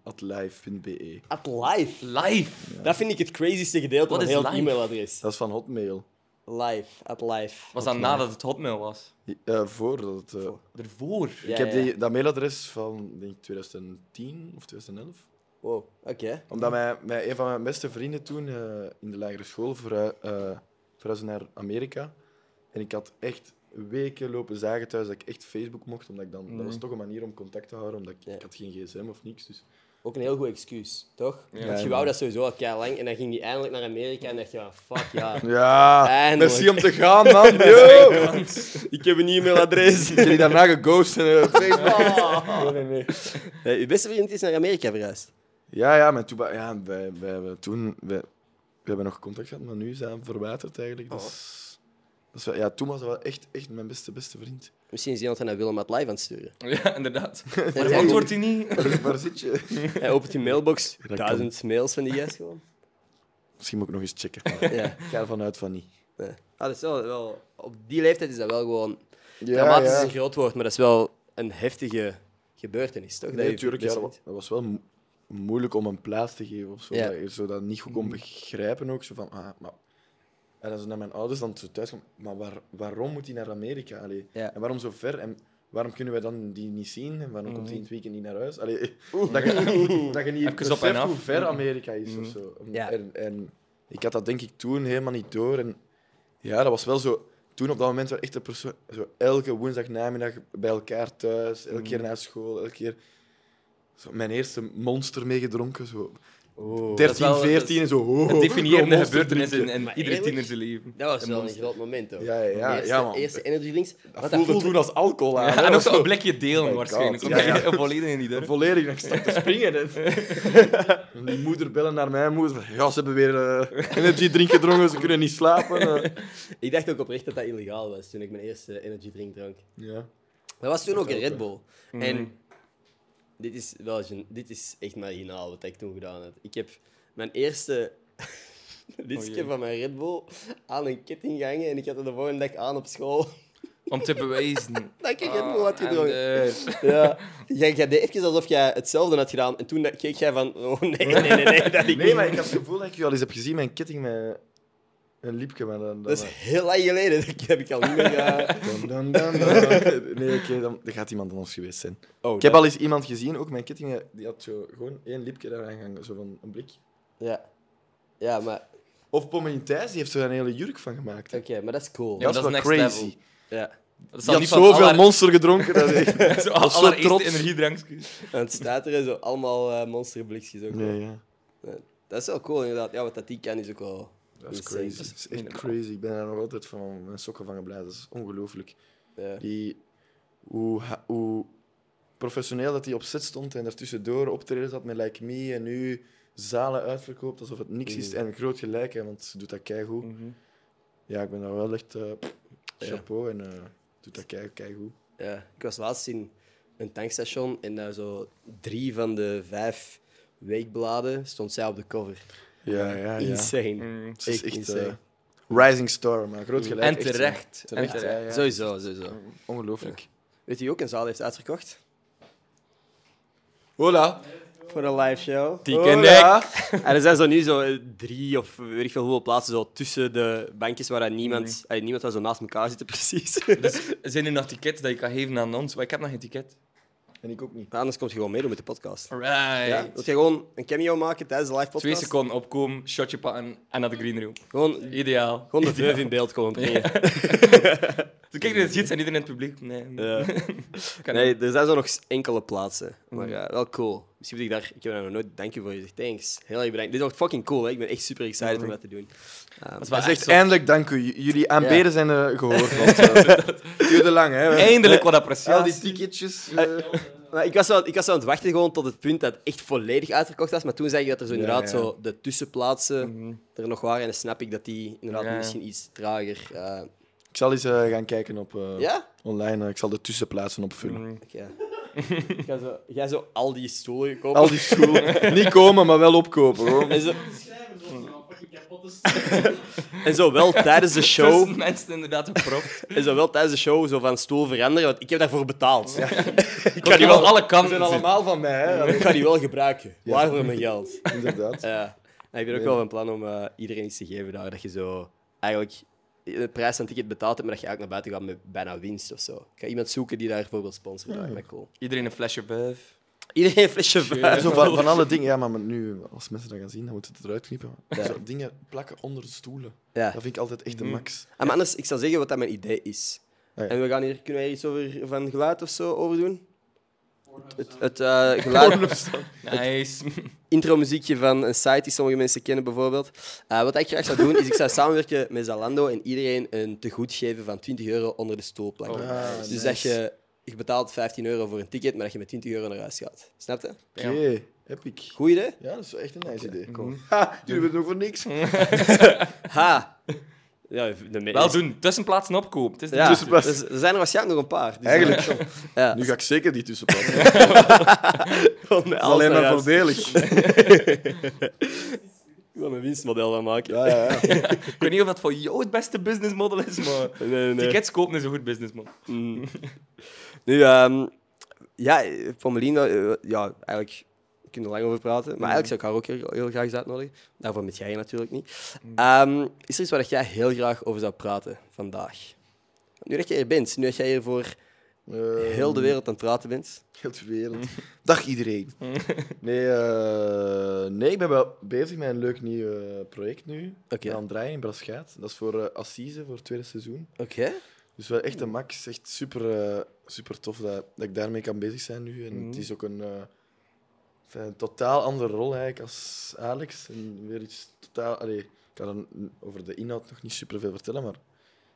Superwillem.live.be. At live. Live! Dat vind ik het crazieste gedeelte Wat van is heel het live? e-mailadres. Dat is van Hotmail. Live. At live. Was dat nadat het Hotmail was? Eh voordat het... eh, Ervoor? Ja, ik heb ja. die, dat mailadres van, denk ik, 2010 of 2011. Wow, oké. Omdat mijn, mijn, een van mijn beste vrienden toen eh, in de lagere school verhui- eh, verhuisde naar Amerika. En ik had echt weken lopen zagen thuis dat ik echt Facebook mocht. Omdat ik dan, Dat was toch een manier om contact te houden, omdat ik, Ja. ik had geen gsm of niks. Dus. Ook een heel goed excuus, toch? Want Ja, je man. wou dat sowieso al kei lang en dan ging die eindelijk naar Amerika en dacht je van fuck ja. Ja, Eindelijk. merci om te gaan, man. Yo! Ik heb een e-mailadres. Ah. Ik heb je daarna geghost en eh, op Facebook. Eh, uw beste vriend is naar Amerika verhuisd. Ja, ja, maar toen, ba- ja, wij, wij hebben toen... Wij, we hebben nog contact gehad, maar nu zijn we verwaterd eigenlijk. Dus, dat is wel- ja, toen was dat wel echt, echt mijn beste, beste vriend. Misschien is iemand dat naar Willem at live aan het sturen. Ja, inderdaad. Ja, Maar antwoordt hij niet? Waar- Waar zit je? Hij opent die mailbox, kan. duizend mails van die gast gewoon. Misschien moet ik nog eens checken. Ja. Ik ga ervan uit van niet. Nee. Ah, dat is wel, wel, op die leeftijd is dat wel gewoon... Ja, dramatisch ja. is een groot woord, maar dat is wel een heftige gebeurtenis, toch? Dat Nee, je tuurlijk, ja, best dat wa- vindt. dat was wel mo- moeilijk om een plaats te geven of zo. Ja. Dat je zo dat niet goed Mm. kon begrijpen ook. Zo van, ah, maar... En als ik naar mijn ouders dan zo thuis kwam, maar waar, waarom moet hij naar Amerika? Allee, Ja. En waarom zo ver? En waarom kunnen wij dan die niet zien? En waarom komt hij in het weekend niet naar huis? Allee, dat, je, dat je niet Even op en beseft af. Mm. hoe ver Amerika is of zo. Ja. En, en ik had dat denk ik toen helemaal niet door. En ja, dat was wel zo... Toen op dat moment wel echt de persoon... Zo elke woensdag namiddag bij elkaar thuis, elke keer naar school, elke keer... Zo, mijn eerste monster meegedronken, zo. 13, wel- dat is 14 en zo. Oh, Het definierende een monster gebeurtenis in, drinken. in Maar iedere eerlijk? tiener zijn leven. Dat was Een wel een monster. groot moment, hoor. Ja, ja, ja, De eerste, ja, man. Eerste energy drinks. Dat want voelde toen als alcohol aan. hè. en ook Ah, Dat was Oh zo'n blikje delen my waarschijnlijk. God, Omdat ja, je volledig in die deur. Volledig, ik sta te springen. En En die moeder bellen naar mijn moeder. van, Ja, ze hebben weer eh, energy drink gedronken, ze kunnen niet slapen. eh. Ik dacht ook oprecht dat dat illegaal was toen ik mijn eerste energy drink dronk. Ja. Dat was toen ook een ook, Red Bull. En dit is, wel, gen- dit is echt marginaal wat ik toen gedaan heb. Ik heb mijn eerste Oh lidje jee. van mijn Red Bull aan een ketting gehangen en ik had het de volgende dag aan op school. Om te bewijzen. dat ik Red Bull had Ah, en gedronken. dus. Ja. Jij, jij deed even alsof jij hetzelfde had gedaan en toen dacht- keek jij van, oh nee, nee, nee, nee, dat ik Nee, maar ik had het gevoel dat ik je al eens heb gezien met een ketting met een liepje. Maar dan, dan, Dat is heel lang geleden, dat heb ik al niet meer... eh, dan, dan, dan, dan. Nee, oké, dan, dan gaat iemand anders geweest zijn. Oh, Ik heb al eens iemand gezien, ook mijn ketting, eh, die had zo gewoon één liepje daaraan gehangen, zo van een blik. Ja. Ja, maar... Of Pommelien Thijs, die heeft er een hele jurk van gemaakt. hè. Oké, maar dat is cool. Ja, dat is dat wel is next crazy. level. Ja. Dat Die zal had niet van zoveel aller- monster gedronken. Dat is echt- zo was zo allereerste trots. energiedrankjes. En het staat er zo allemaal eh monsterblikjes ook. Nee, ja. Dat is wel cool, inderdaad. Ja, wat dat die kan is ook wel... Dat is insane. crazy. Dat is echt minimaal. crazy. Ik ben daar nog altijd van mijn sokken van geblazen. Dat is ongelooflijk. Ja. Die, hoe, ha- hoe professioneel dat hij op set stond en daartussendoor optredens had met Like Me en nu zalen uitverkoopt alsof het niks is. En groot gelijk, hè, want ze doet dat keigoed. Ja, ik ben daar wel echt eh, chapeau en eh, doet dat kei, keigoed. Ja, ik was laatst in een tankstation en daar zo drie van de vijf weekbladen stond zij op de cover. Ja, Ah, ja, ja. Insane. Het is Echt echt insane. eh, rising star, maar groot gelijk. En echt, eh, terecht. En terecht, ja, terecht. ja. Sowieso, sowieso. Ongelooflijk. Weet je wie ook een zaal heeft uitverkocht? Hola. Voor een live show. Oh, Hola. En er zijn zo nu zo eh, drie of weet ik veel hoeveel plaatsen zo tussen de bankjes waar dan niemand, allee, niemand was zo naast elkaar zitten precies. Dus zijn er nog tickets dat je kan geven aan ons? Maar ik heb nog geen ticket. En ik ook niet. Maar anders komt je gewoon meedoen met de podcast. Ja? Right. Wil jij gewoon een cameo maken tijdens de live podcast? Twee seconden opkomen, shotje pakken en naar de green room. Gewoon, Ideaal. gewoon de vijf in beeld komen brengen. Dus kijk, er zit en iedereen in het publiek. Nee. Ja. Kan Mm. nee, er zijn zo nog s- enkele plaatsen. Maar ja, wel cool. Misschien moet ik daar... Ik heb daar nog nooit dank u voor gezegd. Thanks. Heel erg bedankt. Dit is ook fucking cool. Hè? Ik ben echt super excited om dat te doen. Mm. Ehm, Dat is wel Hij echt zegt zo. eindelijk dank u. J- Jullie aanbeden zijn eh, gehoord. Want, eh, het duurde lang, hè? Eindelijk wat Al die appreciatie. ticketjes. eh. Maar ik, was wel, ik was wel aan het wachten gewoon tot het punt dat het echt volledig uitverkocht was. Maar toen zag ik dat er zo inderdaad ja. Zo de tussenplaatsen er nog waren. En dan snap ik dat die inderdaad Mhm. Ja. misschien iets trager... eh, Ik zal eens eh, gaan kijken op eh, Ja? online. eh, ik zal de tussenplaatsen opvullen. Oké. Ik ga zo- Jij zo al die stoelen gekocht. Al die school. Niet komen, maar wel opkopen. Hoor. en, zo, schrijven zoals een fucking kapotte en zo wel tijdens de show... Tussen mensen inderdaad gepropt. En zo wel tijdens de show zo van stoel veranderen, want ik heb daarvoor betaald. Ik kan die wel alle kanten zijn zien. allemaal van mij, hè? Ik ga die wel gebruiken. Waarvoor mijn geld? Inderdaad. Ja. En ik ben ook wel van plan om eh, iedereen iets te geven daar. Dat je zo eigenlijk de prijs van het ticket betaald hebt, maar dat je eigenlijk naar buiten gaat met bijna winst of zo. Ik ga iemand zoeken die daar bijvoorbeeld sponsor Dat lijkt me cool. Iedereen een flesje buff. Iedereen een flesje En wijn. zo van, van alle dingen. Ja, maar nu, als mensen dat gaan zien, dan moeten ze het eruit knippen. Zo, dingen plakken onder de stoelen. Ja. Dat vind ik altijd echt de max. Ah, maar anders, ik zal zeggen wat dat mijn idee is. Ah, ja. En we gaan hier, kunnen we hier iets over, van geluid of zo over doen? Het, het eh, geluid, Nice. intro-muziekje van een site die sommige mensen kennen, bijvoorbeeld. Eh, wat ik graag zou doen, is ik zou samenwerken met Zalando en iedereen een tegoed geven van 20 euro onder de stoel plakken. Oh, Ah, dus nice. dat je, je betaalt 15 euro voor een ticket, maar dat je met 20 euro naar huis gaat. Snap je? Oké, epic. Goed idee? Ja, dat is wel echt een nice idee. cool. Ha, jullie hebben het nog voor niks. Ha! Ja, de me- Wel doen. Tussenplaatsen opkopen. Het is de Ja, Dus het was- dus er zijn er waarschijnlijk nog een paar. Dus Eigenlijk. Ja. Nu ga ik zeker die tussenplaatsen. Gewoon met alles Dat is alleen naar maar huis. voordelig. wil een winstmodel van maken. Ja, ja, ja. Ik weet niet of dat voor jou het beste businessmodel is, maar Nee, nee, nee. tickets kopen is een goed businessmodel. Mm. nu, ehm, ja, eh, Pommelien, eh, ja, eigenlijk we kunnen er lang over praten. Mhm. Maar eigenlijk zou ik haar ook heel, heel graag eens uitnodigen. Daarvoor met jij hier natuurlijk niet. Mhm. Ehm, is er iets waar dat jij heel graag over zou praten vandaag? Nu dat je er bent, nu dat jij hier voor Eh, Ehm. heel de wereld aan het praten bent. Heel de wereld. Dag iedereen. Nee, eh, nee, ik ben wel bezig met een leuk nieuw eh, project nu. Oké. Aan het draaien in Braschaat. Dat is voor eh, Assise, voor het tweede seizoen. Oké. Dus wel echt een max. Echt super, eh, super tof dat, dat ik daarmee kan bezig zijn nu. En het is ook een, eh, het is een totaal andere rol eigenlijk als Alex. En weer iets totaal... Allee, ik kan dan over de inhoud nog niet super veel vertellen, maar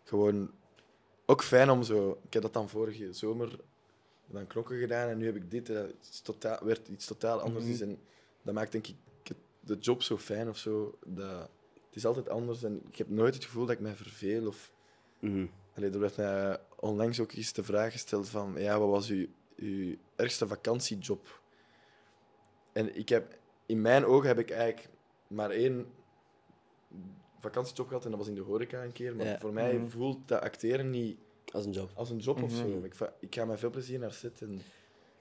gewoon ook fijn om zo... Ik heb dat dan vorige zomer dan knokken gedaan en nu heb ik dit. eh, Het is totaal, werd iets totaal Mhm. anders. is. En dat maakt denk ik het- de job zo fijn of zo. Dat, het is altijd anders en ik heb nooit het gevoel dat ik mij verveel of... Mhm. Allee, er werd mij onlangs ook eens de vraag gesteld van, ja, wat was uw, uw ergste vakantiejob? En ik heb, in mijn ogen heb ik eigenlijk maar één vakantiejob gehad en dat was in de horeca een keer. Maar Ja. Mhm. voor mij voelt dat acteren niet Als een job. als een job of zo. Ik, va- ik ga met veel plezier naar zit en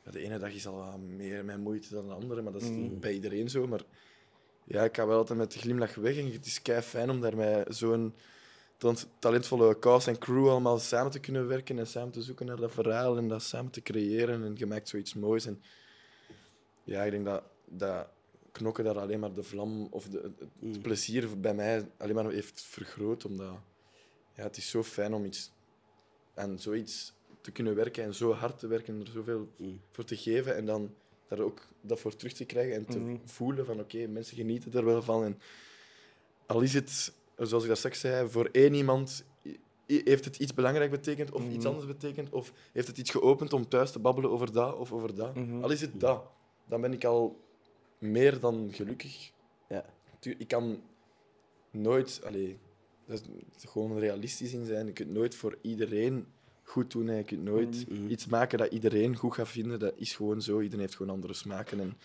ja, de ene dag is al wat meer mijn moeite dan de andere, maar dat is bij iedereen zo. Maar ja, ik ga wel altijd met de glimlach weg en het is kei fijn om daar met zo'n tant- talentvolle cast en crew allemaal samen te kunnen werken en samen te zoeken naar dat verhaal en dat samen te creëren en je maakt zoiets moois. En ja, ik denk dat, dat knokken daar alleen maar de vlam of de, het- het plezier bij mij alleen maar heeft vergroot, omdat ja, het is zo fijn om iets en zoiets te kunnen werken en zo hard te werken en er zoveel voor te geven en dan daar ook dat voor terug te krijgen en te voelen van oké, mensen genieten er wel van. En al is het, zoals ik daar straks zei, voor één iemand i- i- heeft het iets belangrijk betekend of iets anders betekend of heeft het iets geopend om thuis te babbelen over dat of over dat. Al is het dat, dan ben ik al meer dan gelukkig. Ja. Tu- Ik kan nooit, allee, dat is- het is gewoon realistisch in zijn. Je kunt nooit voor iedereen goed doen. Hè. Je kunt nooit iets maken dat iedereen goed gaat vinden. Dat is gewoon zo. Iedereen heeft gewoon andere smaken en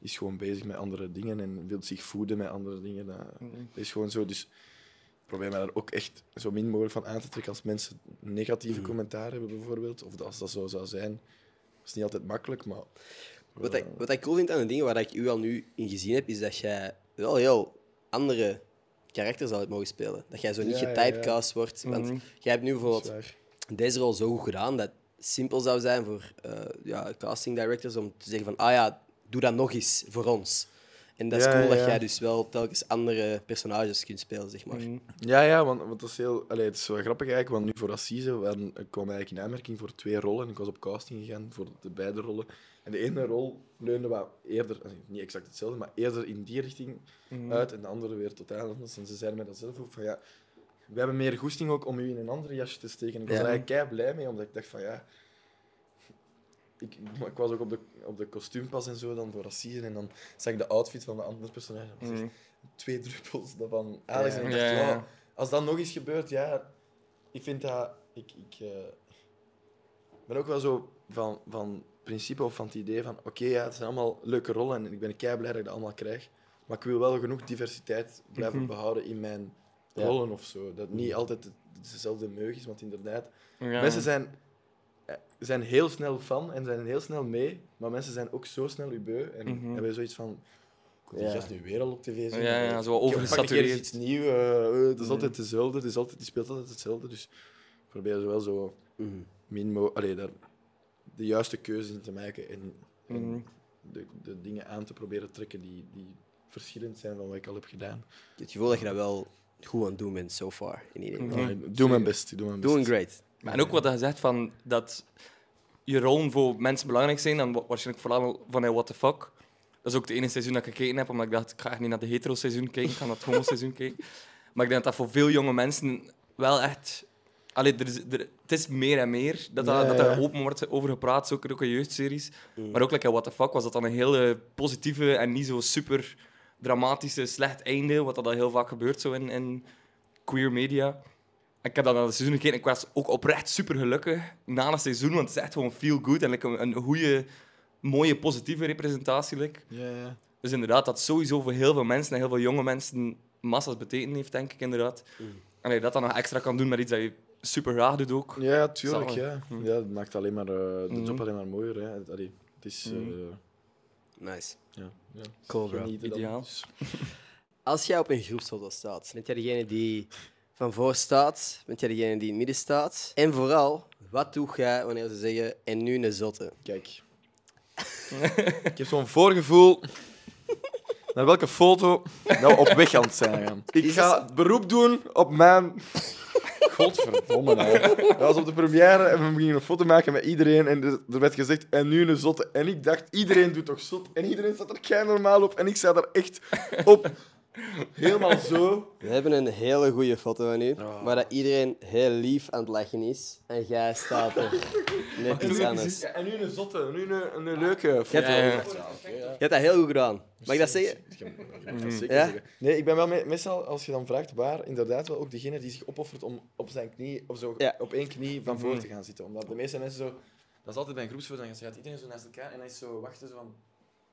is gewoon bezig met andere dingen en wil zich voeden met andere dingen. Dat, dat is gewoon zo. Dus ik probeer mij daar ook echt zo min mogelijk van aan te trekken als mensen negatieve commentaar hebben, bijvoorbeeld. Of dat- als dat zo zou zijn. Dat is niet altijd makkelijk, maar Wat Eh. ik, wat ik cool vind aan de dingen waar ik u al nu in gezien heb, is dat jij wel heel andere karakters altijd mogen spelen. Dat jij zo niet Ja, ja, ja. getypecast wordt. Want jij hebt nu dat is bijvoorbeeld waar. deze rol zo goed gedaan dat het simpel zou zijn voor eh, ja, casting directors om te zeggen van ah ja, doe dat nog eens voor ons. En dat is Ja, cool ja, dat ja. Mhm. jij dus wel telkens andere personages kunt spelen, zeg maar. Ja, ja, want, want dat is heel, allee, het is wel grappig eigenlijk, want nu voor Assise waren, ik kwam eigenlijk in aanmerking voor twee rollen. Ik was op casting gegaan voor de beide rollen. En de ene rol leunde wat eerder, allee, niet exact hetzelfde, maar eerder in die richting uit en de andere weer totaal anders. En ze zeiden mij dat zelf ook, van ja, we hebben meer goesting ook om u in een andere jasje te steken. Ik was Ja. er eigenlijk kei blij mee, omdat ik dacht van ja... Ik, ik- maar ik was ook op de, op de kostuumpas en zo dan voor Assise en dan zag ik de outfit van de andere personage. Dat was Mhm. echt Twee druppels daarvan. Ah, Alex en ik dacht, Ja, ja, ja. "Wow, als dat nog eens gebeurt, ja, ik vind dat. Ik, ik eh, ben ook wel zo van, van principe of van het idee van: oké, ja, het zijn allemaal leuke rollen en ik ben kei blij dat ik dat allemaal krijg. Maar ik wil wel genoeg diversiteit blijven behouden in mijn Ja. rollen of zo. Dat niet altijd het- dezelfde meug is, want inderdaad, Ja. mensen zijn, eh, zijn heel snel fan en zijn heel snel mee, maar mensen zijn ook zo snel u beu en hebben zoiets van. Ik wil die Ja. gast nu weer al op tv zien. Mhm. Ja, Ik pak ja, zo een keer overgesatureerd. iets nieuws. eh, eh, het is altijd hetzelfde, het is altijd, die speelt altijd hetzelfde. Dus ik probeer zo wel zo min mo- allee, daar de juiste keuzes in te maken en, en Mhm. de, de dingen aan te proberen trekken die, die verschillend zijn van wat ik al heb gedaan. Ik heb het gevoel dat je dat wel goed aan het doen bent so far. In ieder Mhm. geval. Maar ik doe mijn best. ik Doe mijn best. Doing great. Maar En ook wat je zegt van dat je rollen voor mensen belangrijk zijn, dan wa- waarschijnlijk vooral vanuit What the fuck. Dat is ook het ene seizoen dat ik gekeken heb, omdat ik dacht, ik ga echt niet naar de hetero seizoen kijken, ik ga naar het homo seizoen kijken. Maar ik denk dat dat voor veel jonge mensen wel echt. Allee, er is, er- het is meer en meer dat, dat, Ja, dat ja. er open wordt over gepraat, zeker ook in jeugdseries. Maar ook like, in What the fuck was dat dan een hele positieve en niet zo super dramatische, slecht einde, wat dat al heel vaak gebeurt zo in, in queer media. Ik heb dat naar het seizoen gekeken en ik was ook oprecht super gelukkig na het seizoen, want het is echt gewoon feel good en like, een, een goede, mooie, positieve representatie. like. Ja, ja. Dus inderdaad, dat sowieso voor heel veel mensen en heel veel jonge mensen massas betekend heeft, denk ik inderdaad. Mm. En dat je dat dan nog extra kan doen met iets dat je super graag doet ook. Ja, tuurlijk. Zal- Ja. ja, dat maakt alleen maar, eh, de Mhm. job alleen maar mooier. Hè. Het- allee, het is... eh, Nice. ja, ja. Cool, Genieten dan. Ideaal. Dus- Als jij op een groepsfoto staat, bent jij degene die van voor staat? Bent jij degene die in het midden staat? En vooral, wat doe jij wanneer ze zeggen en nu een zotte? Kijk. ik heb zo'n voorgevoel naar welke foto nou op weg aan het zijn gaan. Ik Is ga dat- beroep doen op mijn... Godverdomme, nou. Dat was op de première en we gingen een foto maken met iedereen. En er er werd gezegd, en nu een zotte. En ik dacht, iedereen doet toch zot? En iedereen staat er kei normaal op. En ik sta er echt op. Helemaal zo. We hebben een hele goede foto van u, waar dat iedereen heel lief aan het lachen is. En jij staat er net iets anders. Ja, en nu een zotte. En nu een, een leuke eh. foto. Je hebt, Ja, ja. je hebt dat heel goed gedaan. Mag ik dat zeggen? Ja? Ja? Nee, ik ben wel me- meestal, als je dan vraagt waar, inderdaad wel ook degene die zich opoffert om op zijn knie, of zo, Ja. op één knie van voor te gaan zitten. Omdat de meeste mensen zo... Dat is altijd bij een groepsfoto, dan gaat iedereen zo naast elkaar en dan is zo wachten zo van...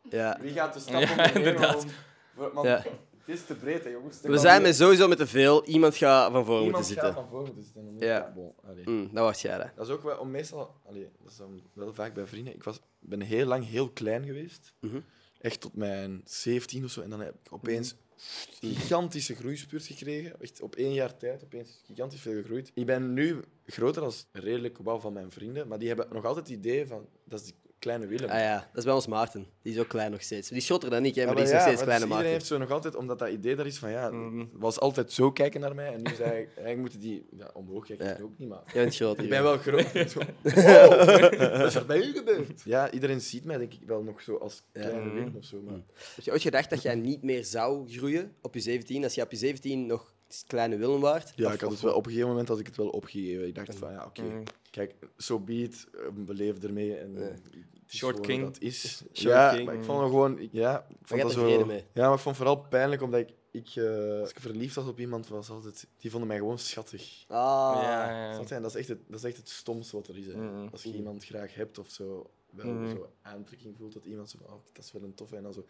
Ja. Wie gaat de stap Ja, ondernemen inderdaad. om- voor- want Ja. het is te breed, hè, jongens. Er We kan zijn niet- met sowieso met te veel. Iemand gaat van voor moeten Iemand gaat zitten. van voor moeten zitten. en dan- Ja. Bon, allee. Mm, dat was jij, hè? Dat is ook wel om meestal, allee, dat is dan wel vaak bij vrienden. Ik was, ben heel lang heel klein geweest. Mhm. Echt tot mijn 17 of zo. En dan heb ik opeens Mhm. gigantische groeispurt gekregen. Echt op één jaar tijd opeens gigantisch veel gegroeid. Ik ben nu groter dan redelijk wel van mijn vrienden. Maar die hebben nog altijd het idee van, dat is die kleine Willem. Ah ja, dat is bij ons Maarten. Die is ook klein nog steeds. Die is shotter dan ik, hè, Ja, maar maar die is ja, nog steeds maar kleine dus Maarten. iedereen heeft zo nog altijd, omdat dat idee daar is van ja, Mhm. was altijd zo kijken naar mij en nu zei ik, eigenlijk moeten die ja, omhoog kijken, Ja. dat ook niet maar. Jij bent groter. Ik ben wel groot. Zo, wow, wat Oh, is er bij u gebeurd? Ja, iedereen ziet mij denk ik wel nog zo als kleine Mhm. Willem of zo. Maar... Heb je ooit gedacht dat jij niet meer zou groeien op je 17? Als je op je 17 nog kleine Willem waard? Ja, Of- ik had of- het wel op een gegeven moment had ik het wel opgegeven. Ik dacht van ja, oké, Mhm. kijk, so be it, eh, beleef ermee en Ja. het is Short gewoon king. wat Dat is. Short ja, king. maar ik vond het gewoon, ik- ja, ik Maar vond jij dat hebt zo. tevreden mee. Ja, maar ik vond het vooral pijnlijk omdat ik, ik eh, als ik verliefd was op iemand was altijd, die vonden mij gewoon schattig. Ah, Ja, ja, ja. Snap je? En Dat is echt het, dat is echt het stomste wat er is. Hè. Mm-hmm. Mhm. Als je iemand graag hebt of zo, wel Mhm. zo aantrekking voelt dat iemand zo van, oh, dat is wel een toffe. En dan zo,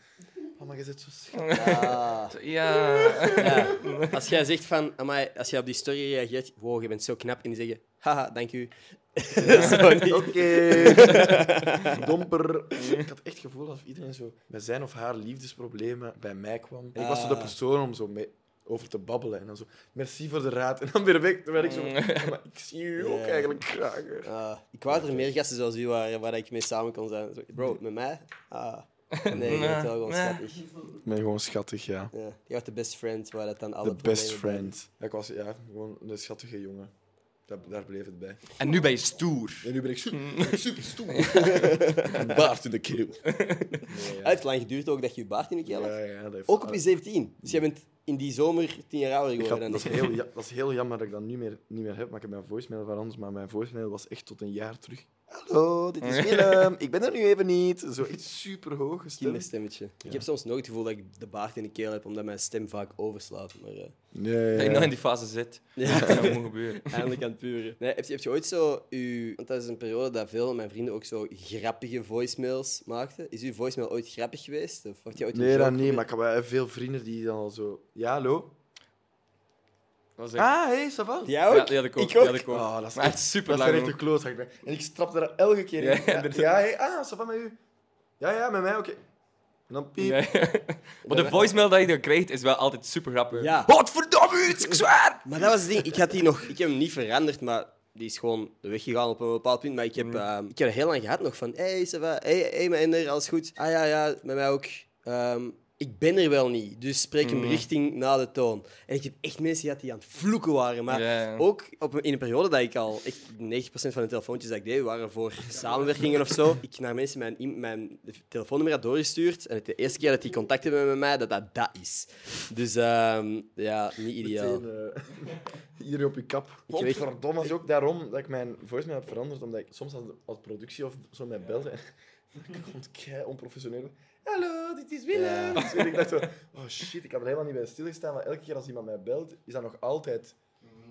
oh, maar je zit zo schattig. ah. Ja. Ja. Als jij zegt van, amai, als jij op die story reageert, wow, je bent zo knap, en die zeggen, haha, dank u. zo niet. Oké. Domper. Ik had echt het gevoel alsof iedereen zo bij zijn of haar liefdesproblemen bij mij kwam. En ik was zo de Ah. persoon om zo mee over te babbelen. En dan zo, merci voor de raad. En dan weer weg. Terwijl ik zo, "Ja, maar ik zie u ook Mm. Ja. eigenlijk graag. hè." Ah, ik wou dat er meer gasten zoals u waren, waar ik mee samen kon zijn. Zo, Bro, met mij? Ah. Nee, je bent wel gewoon Nee. schattig. Ik ben gewoon schattig, ja. Ja. Je wordt de best friend, waar dat dan alle The best problemen bij- friend. Ja, ik was ja, gewoon een schattige jongen. Daar, daar bleef het bij. En nu ben je stoer. En nu ben ik super, super stoer. Een baard in de keel. Nee, Het heeft lang geduurd ook dat je je baard in de keel had. Ja, ja, dat heeft- Ah, Ook op je 17. Dus jij bent in die zomer tien jaar ouder Ik had- geworden dan dat, is ik. heel, ja- dat is heel jammer dat ik dat nu meer, niet meer heb, maar ik heb mijn voicemail veranderd. Maar mijn voicemail was echt tot een jaar terug. Hallo, dit is Willem. ik ben er nu even niet. Zo echt super hoog gestemd. Kinderstemmetje. Ik heb soms nooit het gevoel dat ik de baard in de keel heb, omdat mijn stem vaak overslaat. Maar eh, Nee. Dat je nog in die fase zit. ja, Dat moet gebeuren. eindelijk aan het puren. Nee, heb, je, heb je ooit zo... Uw, want dat is een periode dat veel van mijn vrienden ook zo grappige voicemails maakten. Is uw voicemail ooit grappig geweest? Of had je ooit een Nee, joke dat niet. geprobeerd? Maar ik heb wel veel vrienden die dan al zo... Ja, hallo? Dat was echt- Ah, hey, ça va? Jij ook? Ja, die had ik ook. Ik ook. die had ik ook. Oh, dat is maar echt echt super Dat is lang. echt een klootzak. bij. En ik strap daar elke keer in. Ja, Ja, inderdaad. ja, hey, ah, ça va met u? Ja, ja, met mij, oké. En dan piep. Maar de voicemail dat je dan krijgt is wel altijd super grappig. Ja. Godverdomme, het is ik zwaar! Maar dat was het ding. Ik, had die nog, ik heb hem niet veranderd, maar die is gewoon weggegaan op een bepaald punt. Maar ik heb, ehm, ik heb er heel lang gehad nog van... Hey, ça va? Hey, hey, mijn ender, alles goed? Ah ja, ja, met mij ook. Ehm, ik ben er wel niet, dus spreek hem richting na de toon. En ik heb echt mensen gehad die aan het vloeken waren. Maar Ja, ja. ook op, in een periode dat ik al... Echt 90% van de telefoontjes dat ik deed, waren voor samenwerkingen of zo. Ik naar mensen mijn, im- mijn telefoonnummer had doorgestuurd. En het de eerste keer dat die contact hebben met mij, dat dat dat is. Dus ehm, ja, niet ideaal. Meteen, eh, iedereen op je kap. Ik weet- Godverdomme, dat is ook daarom dat ik mijn voicemail heb veranderd. Omdat ik soms als, als productie of zo mij belde. En ik vond kei onprofessioneel. Hallo, dit is Willem. Dus ik dacht zo, oh shit, ik had er helemaal niet bij stilgestaan. Maar elke keer als iemand mij belt, is dat nog altijd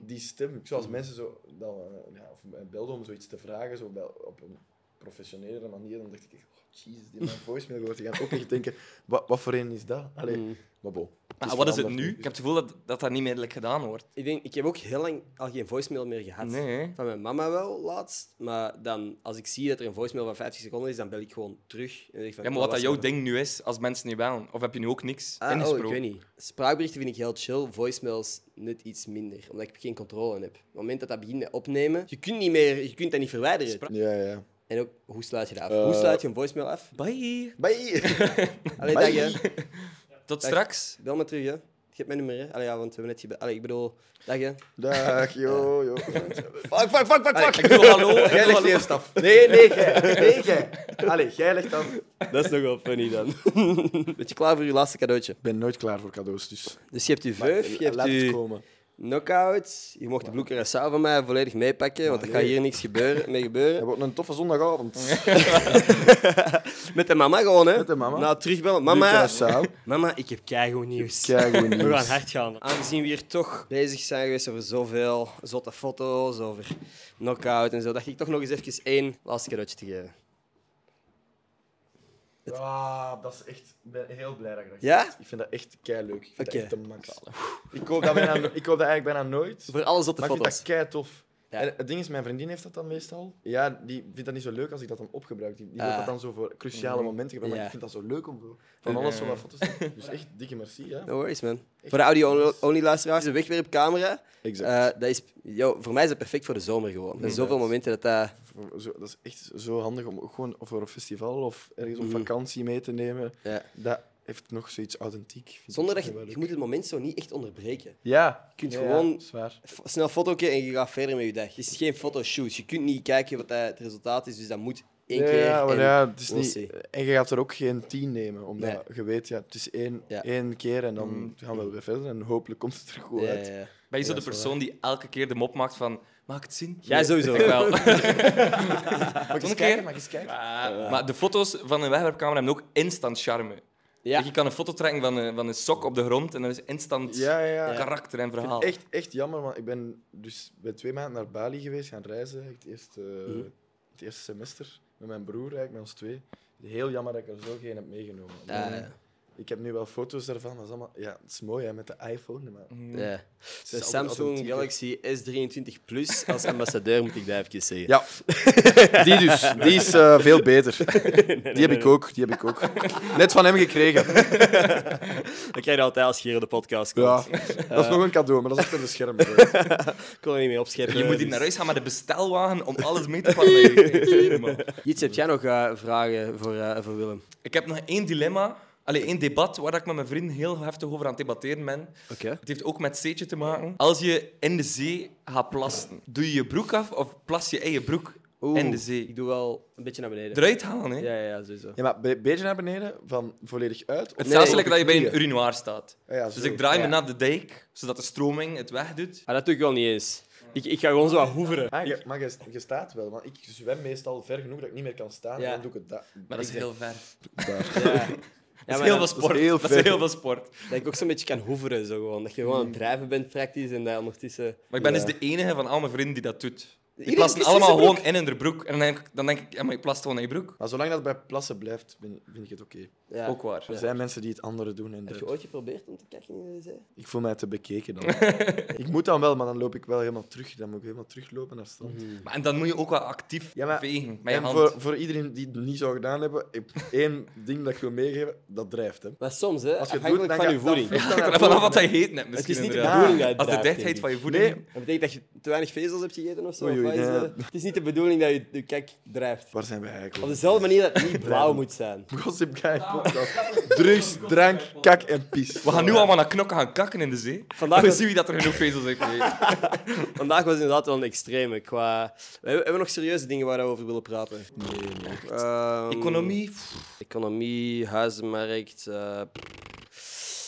die stem. Zoals mensen zo, dan, eh, ja, of mij belden om zoiets te vragen zo bij, op een professionele manier, dan dacht ik echt, oh, jezus, die mijn voicemail gehoord. Die gaan ook echt denken, wat, wat voor een is dat? Allee, maar bon. Maar Ah, wat is het veranderd nu? Ik heb het gevoel dat dat, dat niet meer like, gedaan wordt. Ik denk, ik heb ook heel lang al geen voicemail meer gehad. Nee, hè? Van mijn mama wel, laatst. Maar dan, als ik zie dat er een voicemail van 50 seconden is, dan bel ik gewoon terug. En denk van, Ja, maar oh, wat dat was jouw er? ding nu is, als mensen niet bellen. Of heb je nu ook niks Ah, oh, ingesproken? ik weet niet. Spraakberichten vind ik heel chill, voicemails net iets minder, omdat ik geen controle heb. Op het moment dat dat begint met opnemen, je kunt, niet meer, je kunt dat niet verwijderen. Ja, ja. En ook, hoe sluit je dat af? Eh. Hoe sluit je een voicemail af? Bye. Bye! Allee, dag Bye. hè. Tot Dag. straks. Bel me terug hè. Je hebt mijn nummer hè. Allee, ja, want we hebben net gebeld. Allee, ik bedoel, dag hè. Dag, yo, yo. Fuck, fuck, fuck, fuck, fuck. Ik doe hallo. ik Jij doe legt hallo. eerst af. Nee, nee, jij. Nee, jij. Allee, jij legt af. Dat is nog wel funny dan. Ben je klaar voor je laatste cadeautje? Ik ben nooit klaar voor cadeaus, dus Dus je hebt je maar, veuf, je hebt laat het je komen. knockouts. Je mocht de bloeker en van mij volledig meepakken, want er gaat Ah, nee. hier niks gebeuren, mee Het gebeuren. wordt een toffe zondagavond. Met de mama gewoon, hè? Met de mama. Nou, terugbellen. Mama. Mama, mama ik heb keigoed nieuws. Kijk hoe We gaan nieuws. hard gaan. Aangezien we hier toch bezig zijn geweest over zoveel zotte foto's, over knockout en zo, dacht ik toch nog eens even één laatste cadeautje te geven. Ah, dat is echt... Ik ben heel blij dat ik dat Ja? gezien heb. Ik vind dat echt kei leuk. Ik vind Oké. dat echt de max. Ik koop dat, bijna, ik koop dat eigenlijk bijna nooit. Voor alle zotte Maar ik vind foto's. dat kei tof. Ja. En het ding is, mijn vriendin heeft dat dan meestal. Ja, die vindt dat niet zo leuk als ik dat dan opgebruik. Die, die wil Ah. dat dan zo voor cruciale momenten gebruiken. Ja. Maar ik vind dat zo leuk om zo van alles zo wat foto's te doen. Dus echt dikke merci, ja. No worries, man. Voor de audio-only luisteraars, de wegwerpcamera. eh, dat is, yo, voor mij is dat perfect voor de zomer gewoon. Er zijn zoveel momenten dat dat... Zo, dat is echt zo handig om ook gewoon voor een festival of ergens op vakantie mee te nemen. Mm. Ja. Dat heeft nog zoiets authentiek. vind ik Zonder dat wel je... leuk. Je moet het moment zo niet echt onderbreken. Ja. Je kunt gewoon- Zwaar. F- Snel foto en je gaat verder met je dag. Het is geen fotoshoot. Je kunt niet kijken wat dat het resultaat is, dus dat moet één ja, keer. ja, maar en- ja, het is we'll niet... see. En je gaat er ook geen tien nemen, omdat Nee. je weet, ja, het is één, Ja. Mm. één keer en dan gaan we weer verder. En hopelijk komt het er goed Ja, uit. ja, ja. Ben je zo Ja, de dat is persoon die elke keer de mop maakt van... Mag ik het zien? Jij sowieso. Ik wel. Mag ik Volgende eens keer? kijken? Mag ik eens kijken? Ah, Maar de foto's van een wegwerpcamera hebben ook instant charme. Ja. Je kan een foto trekken van een, van een sok op de grond en dat is instant Ja, ja, ja. karakter en Ik verhaal. vind het echt, echt jammer, want ik ben dus bij twee maanden naar Bali geweest gaan reizen. Het eerste, het eerste semester met mijn broer, eigenlijk, met ons twee. Heel jammer dat ik er zo geen heb meegenomen. Ja, Maar, ja. Ik heb nu wel foto's daarvan, maar dat is, allemaal, ja, het is mooi hè, met de iPhone. Maar het Ja. is De altijd Samsung authentieker. Galaxy S23 Plus als ambassadeur, moet ik daar even zeggen. Ja, die dus. Die is eh, veel beter. Die heb ik ook, die heb ik ook. Net van hem gekregen. Dat krijg je altijd als je hier op de podcast komt. Ja, dat is nog een cadeau, maar dat is achter de schermen. hoor. Ik kon er niet mee opschermen. Je moet hier dus- naar huis gaan met de bestelwagen om alles mee te pakken. Nee, nee, sorry, man. Jits, heb jij nog eh, vragen voor, eh, voor Willem? Ik heb nog één dilemma, alleen één debat waar ik met mijn vrienden heel heftig over aan het debatteren ben. Oké. Het heeft ook met zeetje te maken. Als je in de zee gaat plassen, doe je je broek af of plas je in je broek in de Ik zee? doe wel een beetje naar beneden. Eruit halen, hè? Ja, ja, ja, sowieso. Ja, maar be- beetje naar beneden, van volledig uit. Het of- staat zo Nee. lekker dat je bij een urinoir staat. Ah ja, Dus zo. ik draai me Ja. naar de dijk, zodat de stroming het wegdoet. Maar Ah, dat doe ik wel niet eens. Ik, ik ga gewoon zo wat hoeveren. Ah, je- maar je, je staat wel, want ik zwem meestal ver genoeg dat ik niet meer kan staan. Ja. En dan doe ik het da- Maar dat is heel ver. daar. Dat maar is heel veel dat- sport. dat is heel Dat is ver. heel veel sport. Dat ik ook zo'n beetje kan hoeveren, zo gewoon. Dat je gewoon aan het drijven bent praktisch en dat ondertussen... Maar ik ben Ja. dus de enige van al mijn vrienden die dat doet. Die Iedereen plassen is in zijn allemaal broek. gewoon in hun broek. En dan denk, ik- dan denk ik, ja, maar je plast gewoon in je broek. Maar zolang dat bij plassen blijft, vind, vind ik het oké. Ja. Ook waar. Er zijn mensen die het andere doen. En Heb je dat- ooit geprobeerd om te kijken in de zee? Ik voel mij te bekeken dan. ik moet dan wel, maar dan loop ik wel helemaal terug. Dan moet ik helemaal teruglopen naar strand. Maar, en dan moet je ook wel actief Ja, maar- vegen met Mhm. je En hand. voor, voor iedereen die het niet zou gedaan hebben, ik- één ding dat ik wil meegeven, dat drijft. Hè. Maar soms, hè, Als je het doet, afhankelijk dan van ga- je voeding. dan Het vliegt dat naar Vanaf voren. wat hij heet net is misschien. niet de inderdaad. bedoeling dat je Als de drijft, denk dichtheid ik. van je voeding... Nee. Dat betekent dat je te weinig vezels hebt gegeten of zo? Oei, of oei, wat is, nee. eh, Het is niet de bedoeling dat je je kijk drijft. Waar zijn we eigenlijk? Op over? dezelfde manier dat het niet blauw moet zijn. Gossip Guy podcast. Drugs, drank, kak en pies. We gaan nu allemaal naar knokken gaan kakken in de zee. Vandaag Vandaag was- zien we dat er genoeg vezels heeft gegeten. Vandaag was inderdaad wel een extreme. Qua... We hebben we hebben nog serieuze dingen waar we over willen praten. Ehm, Economie. pff, Economie, huizenmarkt. eh,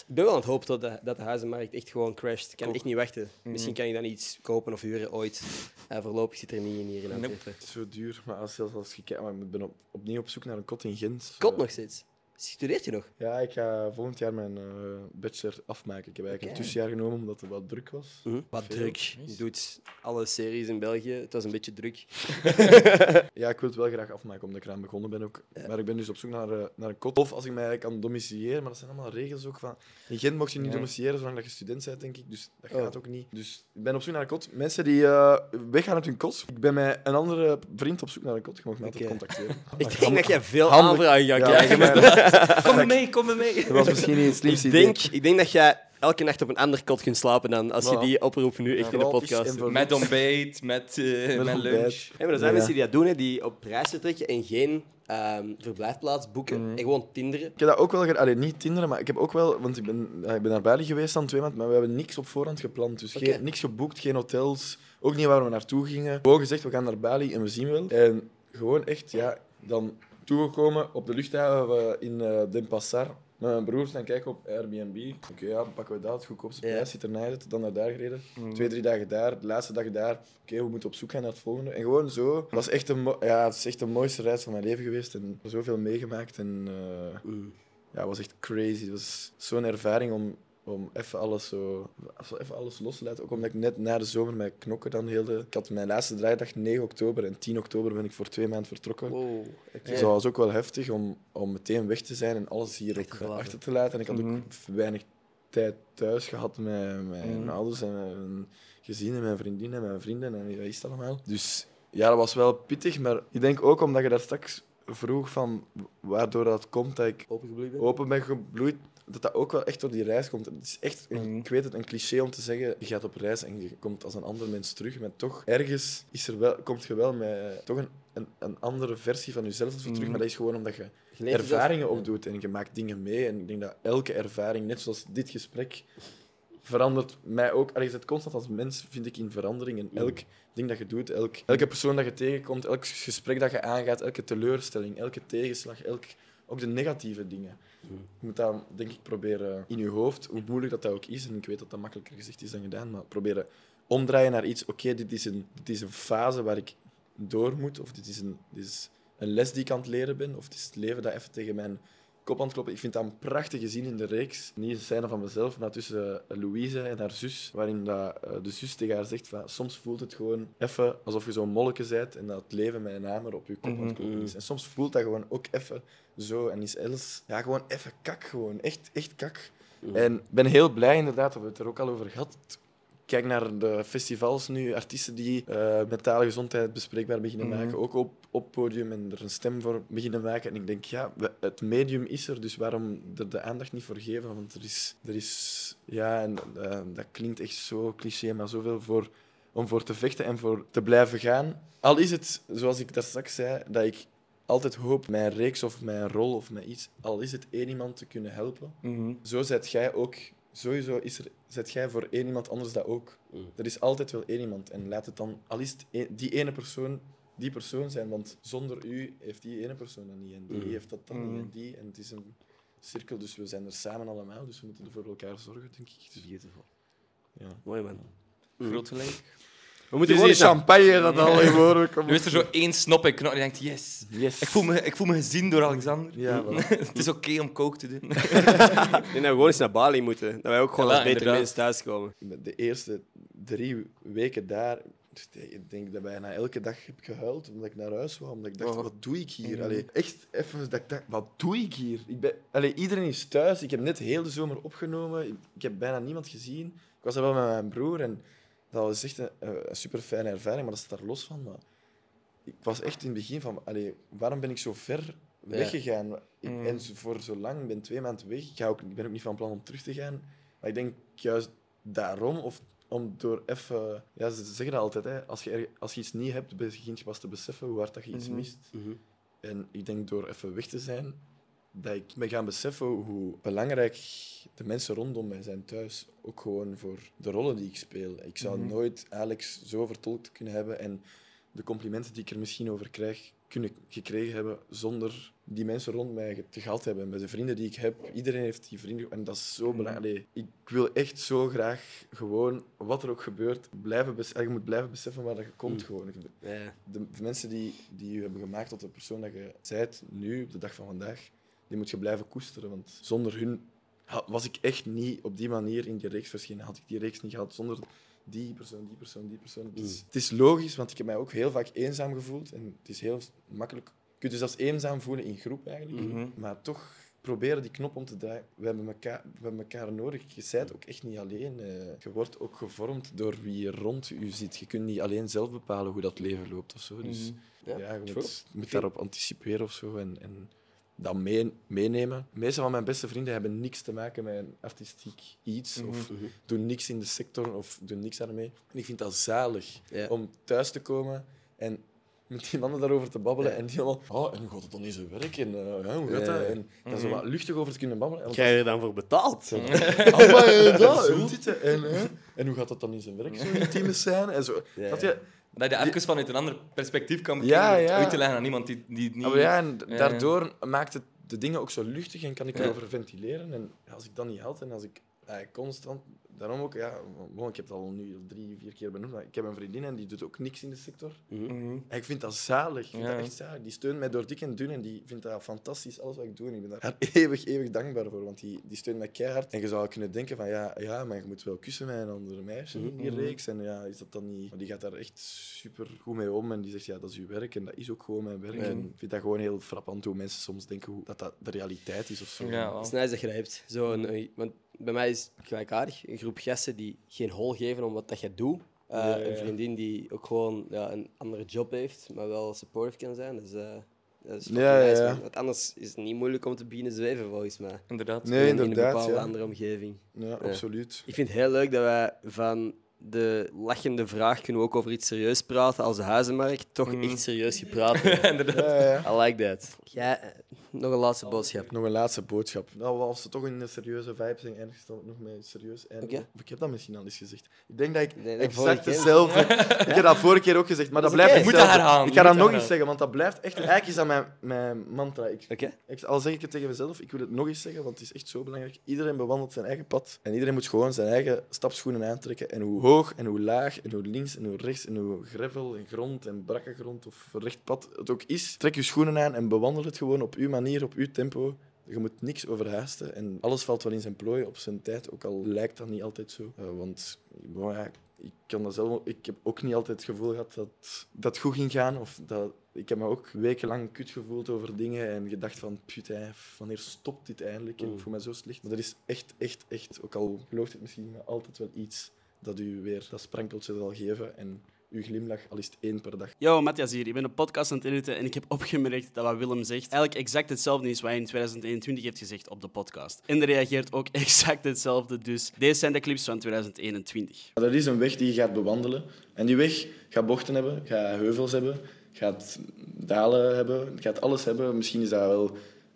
Ik ben wel aan het hopen dat de, dat de huizenmarkt echt gewoon crasht. Ik kan echt niet wachten. Mhm. Misschien kan ik dan iets kopen of huren ooit. Eh, voorlopig zit er niet in hier in Nope. Antwerpen. Het is zo duur, maar als, zelfs als je kijkt, maar ik ben op, opnieuw op zoek naar een kot in Gent. Kot Eh, nog steeds. Studeert je nog? Ja, ik ga volgend jaar mijn eh, bachelor afmaken. Ik heb eigenlijk Oké. een tussenjaar genomen omdat het wat druk was. Wat Veel. druk. Je doet alle series in België. Het was een beetje druk. Ja, ik wil het wel graag afmaken omdat ik eraan begonnen ben ook. Maar ik ben dus op zoek naar, eh, naar een kot. Of als ik mij kan domiciliëren, maar dat zijn allemaal regels ook van... In Gent mocht je niet Ja. domiciliëren zolang dat je student bent, denk ik. Dus dat Oh. gaat ook niet. Dus ik ben op zoek naar een kot. Mensen die eh, weggaan uit hun kot. Ik ben met een andere vriend op zoek naar een kot. Je mag me altijd Oké. contacteren. Ik denk dat jij veel handig. aanvragen gaat Ja, krijgen. ik ben- Kom maar mee, kom maar mee. dat was misschien niet het sliepste ik, idee. denk, ik denk dat jij elke nacht op een ander kot kunt slapen dan als je Voilà. die oproep nu echt in de Gratis podcast en doet. voor Met niks. ontbijt, met, eh, Met met ontbijt. lunch. Ja, maar er zijn Ja. mensen die dat doen, hè, die op reizen trekken en geen ehm, verblijfplaats boeken Mhm. en gewoon tinderen. Ik heb dat ook wel... ge- Allee, niet Tinder, maar ik heb ook wel... Want ik ben, ja, ik ben naar Bali geweest dan twee maanden, maar we hebben niks op voorhand gepland. Dus Oké. geen, niks geboekt, geen hotels. Ook niet waar we naartoe gingen. Gewoon gezegd, we gaan naar Bali en we zien wel. En gewoon echt, ja, dan toegekomen op de luchthaven eh, in eh Denpasar. Met mijn broers dan kijken op Airbnb. Oké, ja, dan pakken we dat, het goedkoopste Ja. Mm. prijs, zit er naar uit, dan naar daar gereden. Twee, drie dagen daar, de laatste dag daar. Oké, we moeten op zoek gaan naar het volgende. En gewoon zo. Het, was echt een mo- ja, het is echt de mooiste reis van mijn leven geweest. En zoveel meegemaakt. En eh, ja, het was echt crazy. Het was zo'n ervaring om, om even, alles zo, zo even alles los te laten. Ook omdat ik net na de zomer met knokken dan heel de... Ik had mijn laatste draaidag 9 oktober en 10 oktober ben ik voor twee maanden vertrokken. Wow, oké. Dus dat was ook wel heftig om, om meteen weg te zijn en alles hier Achter ook te laten. achter te laten. En ik had ook weinig tijd thuis gehad met mijn ouders en mijn gezin en mijn vriendinnen en mijn vrienden en wat is dat allemaal. Dus ja, dat was wel pittig, maar ik denk ook omdat je daar straks vroeg van waardoor dat komt dat ik Opengebloeid ben. open ben gebloeid, dat dat ook wel echt door die reis komt. Het is echt, een- Mhm. ik weet het, een cliché om te zeggen, je gaat op reis en je komt als een ander mens terug, maar toch, ergens is er wel, komt je wel met eh, toch een, een, een andere versie van jezelf of Mhm. zo terug, maar dat is gewoon omdat je Je leeft ervaringen opdoet en je maakt dingen mee. En ik denk dat elke ervaring, net zoals dit gesprek, verandert mij ook. Allee, Je zit constant als mens, vind ik, in verandering. En elk ding dat je doet, elk, elke persoon dat je tegenkomt, elk gesprek dat je aangaat, elke teleurstelling, elke tegenslag, elk, ook de negatieve dingen. Je moet dat, denk ik, proberen in je hoofd, hoe moeilijk dat, dat ook is. En ik weet dat dat makkelijker gezegd is dan gedaan, maar proberen omdraaien naar iets. Oké, dit, is een- dit is een fase waar ik door moet, of dit is een, dit is een les die ik aan het leren ben, of het is het leven dat even tegen mijn kop aan het kloppen. Ik vind dat een prachtige zin in de reeks. Niet een scène van mezelf, maar tussen eh, Louise en haar zus, waarin dat, eh, de zus tegen haar zegt van, soms voelt het gewoon even alsof je zo'n molleke bent en dat het leven met een hamer op je kop aan het kloppen is. En soms voelt dat gewoon ook even zo en is Els ja, gewoon even kak gewoon. Echt, echt kak. Mm. En ik ben heel blij inderdaad, dat we het er ook al over gehad Kijk naar de festivals nu, artiesten die eh mentale gezondheid bespreekbaar beginnen maken, ook op, op podium en er een stem voor beginnen maken. En ik denk, ja, we- het medium is er, dus waarom er de aandacht niet voor geven? Want er is, er is ja, en, eh, dat klinkt echt zo cliché, maar zoveel voor, om voor te vechten en voor te blijven gaan. Al is het, zoals ik daar straks zei, dat ik altijd hoop mijn reeks of mijn rol of mijn iets, al is het één iemand te kunnen helpen. Mhm. Zo zet jij ook, sowieso is er, zet jij voor één iemand anders dat ook. Er is altijd wel één iemand. En laat het dan, al is het e- die ene persoon, die persoon zijn. Want zonder u heeft die ene persoon dat niet. En die heeft dat dan niet. En die. En het is een cirkel, dus we zijn er samen allemaal. Dus we moeten er voor elkaar zorgen, denk ik. Dus, Beautiful. ja. Mooi man. Mhm. Groot gelijk. We moeten gewoon eens naar- champagne dat al in woorden Nu is er zo één snop in knop en je denkt, yes. Yes. Ik voel, me, ik voel me gezien door Alexander. Ja, wel. Het is oké om kook te Ik doen. denk dat we gewoon eens naar Bali moeten. Dat wij ook gewoon Ja, als betere inderdaad. mensen thuiskomen. de eerste drie weken daar, ik denk dat bijna elke dag heb gehuild omdat ik naar huis wou. Omdat ik dacht, Oh. wat doe ik hier? Allee, echt even dat ik dacht, wat doe ik hier? Ik ben, allee, iedereen is thuis. Ik heb net heel de zomer opgenomen. Ik, ik heb bijna niemand gezien. Ik was daar wel met mijn broer en dat was echt een, super fijne ervaring, maar dat staat daar los van. Maar ik was echt in het begin van, allee, waarom ben ik zo ver Ja. weggegaan? Ik- Mm. En zo- voor zo lang, ik ben twee maanden weg. Ik, ga ook, ik ben ook niet van plan om terug te gaan. Maar ik denk juist daarom, of om door even... Ja, ze zeggen dat altijd, hè. Als, je er- als je iets niet hebt, begint je pas te beseffen hoe hard dat je iets Mhm. mist. En ik denk door even weg te zijn, dat ik me gaan beseffen hoe belangrijk de mensen rondom mij zijn thuis. Ook gewoon voor de rollen die ik speel. Ik zou nooit Alex zo vertolkt kunnen hebben en de complimenten die ik er misschien over krijg, kunnen gekregen hebben zonder die mensen rond mij ge- te gehad hebben. Met de vrienden die ik heb, iedereen heeft die vrienden. En dat is zo belangrijk. Allee, Ik wil echt zo graag gewoon, wat er ook gebeurt, blijven bes- je moet blijven beseffen waar dat je komt. Gewoon. Ik- Ja. de, de mensen die, die je hebben gemaakt tot de persoon dat je bent nu, op de dag van vandaag, die die moet je blijven koesteren. Want zonder hun ha- was ik echt niet op die manier in die reeks verschenen. Had ik die reeks niet gehad zonder die persoon, die persoon, die persoon. Het is, het is logisch, want ik heb mij ook heel vaak eenzaam gevoeld. En het is heel makkelijk. Je kunt je zelfs eenzaam voelen in groep eigenlijk. Mhm. Maar toch proberen die knop om te draaien. We hebben elkaar, we hebben elkaar nodig. Je bent ook echt niet alleen. eh. je wordt ook gevormd door wie je rond u zit. Je kunt niet alleen zelf bepalen hoe dat leven loopt of zo. Dus Ja, ja, je moet, true. je moet daarop anticiperen of zo. En, en dat mee- meenemen. Meestal van mijn beste vrienden hebben niks te maken met een artistiek iets. Mhm. Of doen niks in de sector of doen niks daarmee. En ik vind dat zalig Ja. om thuis te komen en met die mannen daarover te babbelen. En die allemaal, oh, en hoe gaat het dan in zijn werk? En eh, ja, hoe gaat dat? Ja. Mhm. En daar zo wat luchtig over te kunnen babbelen. En Krijg je er dan voor betaald? Ah, maar, eh, dat, en, dit, eh, en, eh, en hoe gaat dat dan in zijn werk? Zo intieme scène en zo. Ja. Dat je, Dat je even vanuit een ander perspectief kan bekijken, Ja, om het ja. uit te leggen aan iemand die, die het niet... Ah, maar ja, en ja. daardoor maakt het de dingen ook zo luchtig en kan ik Ja. erover ventileren. En als ik dat niet had en als ik eh, constant... Daarom ook, ja, bon, ik heb het al nu al drie, vier keer benoemd, maar ik heb een vriendin en die doet ook niks in de sector. Mhm. En ik vind dat zalig. Ik vind Ja. dat echt zalig. Die steunt mij door dik en dun en die vindt dat fantastisch, alles wat ik doe. En ik ben daar eeuwig, eeuwig dankbaar voor, want die, die steunt mij keihard. En je zou kunnen denken van, ja, ja maar je moet wel kussen met een ander meisje in die reeks. En ja, is dat dan niet... Maar die gaat daar echt super goed mee om en die zegt, ja, dat is uw werk en dat is ook gewoon mijn werk. En ik vind dat gewoon heel frappant hoe mensen soms denken hoe, dat dat de realiteit is of zo. Ja, wel. Het is nice dat je dat hebt. Zo een, een- want bij mij is het gelijkaardig. Een groep gasten die geen hol geven om wat dat je doet. Uh, Ja, ja, Een ja. vriendin die ook gewoon ja, een andere job heeft, maar wel supportive kan zijn. Dus, eh, dat is fucking Ja, nice, ja, ja. man. Want anders is het niet moeilijk om te beginnen zweven, volgens mij. Inderdaad. Nee, In- In een inderdaad, bepaalde ja. andere omgeving. Ja, absoluut. Ik vind het heel leuk dat wij van de lachende vraag kunnen we ook over iets serieus praten als de huizenmarkt. Toch echt serieus gepraat. wordt. Inderdaad. Ja, ja, ja. I like that. Jij, eh, nog een laatste boodschap. Nog een laatste boodschap. Nou, als ze toch in een serieuze vibe zijn, ergens dan ook nog mee serieus. En Oké. Of ik heb dat misschien al eens gezegd. Ik denk dat ik Nee, dat vorige exact keer. dezelfde. Ik heb dat vorige keer ook gezegd, maar dat, Dat is blijft. oké. hetzelfde. Je moet dat herhalen, Ik je ga dat moet nog dat eens zeggen, want dat blijft echt. Eigenlijk is dat mijn, mijn mantra. Ik, Oké? ik, al zeg ik het tegen mezelf, ik wil het nog eens zeggen, want het is echt zo belangrijk. Iedereen bewandelt zijn eigen pad. En iedereen moet gewoon zijn eigen stapschoenen aantrekken. En hoe hoog en hoe laag en hoe links en hoe rechts en hoe gravel en grond en brakke grond of recht pad het ook is, trek je schoenen aan en bewandel het gewoon op uw manier, op uw tempo. Je moet niks overhaasten en alles valt wel in zijn plooi op zijn tijd, ook al lijkt dat niet altijd zo. Eh, want bon, ja, ik, kan dat zelf, ik heb ook niet altijd het gevoel gehad dat dat goed ging gaan. Of dat, ik heb me ook wekenlang kut gevoeld over dingen en gedacht van, putain, wanneer stopt dit eindelijk? En ik voel me zo slecht. Maar er is echt, echt, echt, ook al gelooft het misschien, niet, maar altijd wel iets dat u weer dat sprankeltje zal geven en uw glimlach, al is het één per dag. Yo, Matthias hier. Ik ben een podcast aan het editen en ik heb opgemerkt dat wat Willem zegt eigenlijk exact hetzelfde is wat hij in 2021 heeft gezegd op de podcast. En hij reageert ook exact hetzelfde, dus deze zijn de clips van 2021. Maar dat is een weg die je gaat bewandelen. En die weg gaat bochten hebben, gaat heuvels hebben, gaat dalen hebben, gaat alles hebben. Misschien is dat wel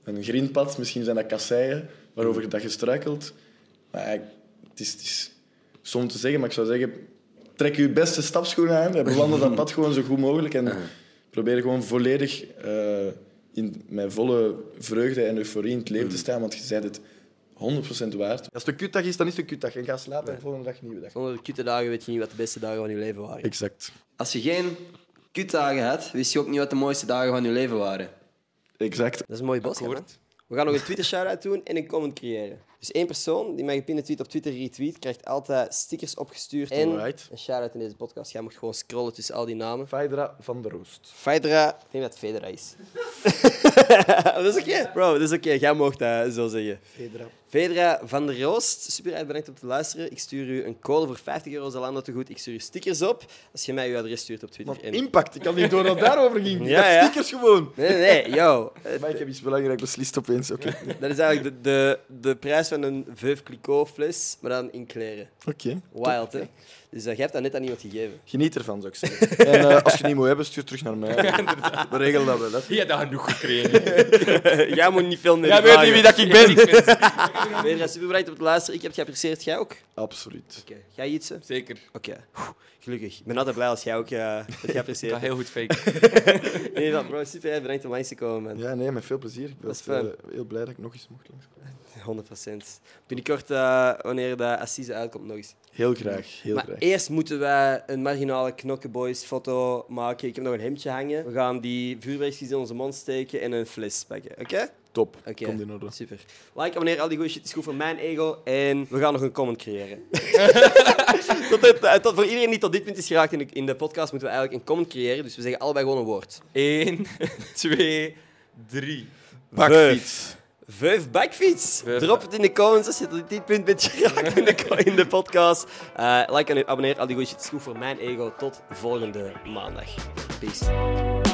een grindpad, misschien zijn dat kasseien waarover dat je struikelt. Maar ja, het is, het is stom te zeggen, maar ik zou zeggen... Trek je beste stapschoenen aan en bewandel dat pad gewoon zo goed mogelijk. En probeer gewoon volledig eh, in, met volle vreugde en euforie in het leven te staan. Want je zei het 100% waard. Als het een kutdag is, dan is het een kutdag. En ga slapen en volgende dag een nieuwe dag. Zonder de kutte dagen weet je niet wat de beste dagen van je leven waren. Exact. Als je geen kutdagen had, wist je ook niet wat de mooiste dagen van je leven waren. Exact. Dat is een mooie boodschap. Akkoord. hè? We gaan nog een Twitter-shout-out doen en een comment creëren. Dus één persoon die mijn gepinde tweet op Twitter retweet, krijgt altijd stickers opgestuurd en Alright. een shout-out in deze podcast. Jij moet gewoon scrollen tussen al die namen. Faidra van der Roost. Fedra, ik denk dat het Fedra is. dat is oké, bro, dat is oké. Jij mag dat eh, zo zeggen. Fedra. Fedra van der Roost, super erg bedankt om te luisteren. Ik stuur u een code voor 50 euro Zalando te goed. Ik stuur u stickers op als je mij uw adres stuurt op Twitter. En- Impact. Ik had niet door dat het daarover ging. Ja, Ja, ja. Stickers gewoon. Nee, nee, nee, yo. Eh, Maar ik heb iets belangrijks beslist opeens. Oké. Dat is eigenlijk de, de, de prijs van een Veuve Clicquot fles, maar dan in kleren. Oké. Wild, hè? Dus dat jij hebt dat net aan iemand gegeven. Geniet ervan, zou ik zeggen. En eh, als je het niet moet hebben, stuur terug naar mij. We regelen dat wel. hè. Je hebt dat genoeg gekregen. Eh, jij moet niet veel meer Jij weet niet wie dat ik ben. super bedankt om te luisteren. Ik heb het geapprecieerd. Jij ook? Absoluut. Oké. Jij iets? hè? Zeker. Oké. Oeh, Gelukkig. Ik ben altijd blij als jij ook eh, het Ik ga geapprecieerd hebt. heel goed faken. In ieder geval, bro, super erg bedankt om langs te komen, man. Ja, nee, met veel plezier. Ik Dat ben is fijn. eh, heel blij dat ik nog eens mocht langskomen. 100%. Binnenkort, eh, wanneer de Assise uitkomt, nog eens. Heel graag. Heel maar graag. eerst moeten wij een marginale knokkenboys foto maken. Ik heb nog een hemdje hangen. We gaan die vuurwerkjes in onze mond steken en een fles pakken. Oké? Top. Oké, Komt in orde. super. Like, abonneer, al die goede shit is goed voor mijn ego. En we gaan nog een comment creëren. tot het, eh, tot, voor iedereen die tot dit punt is geraakt in de, in de podcast, moeten we eigenlijk een comment creëren. Dus we zeggen allebei gewoon een woord. Eén, twee, drie. Bakfiets. Veuf Bakfiets. Veuf. Drop het in de comments als je tot dit punt bent geraakt in de, in de podcast. Eh, like en abonneer, al die goede shit is goed voor mijn ego. Tot volgende maandag. Peace.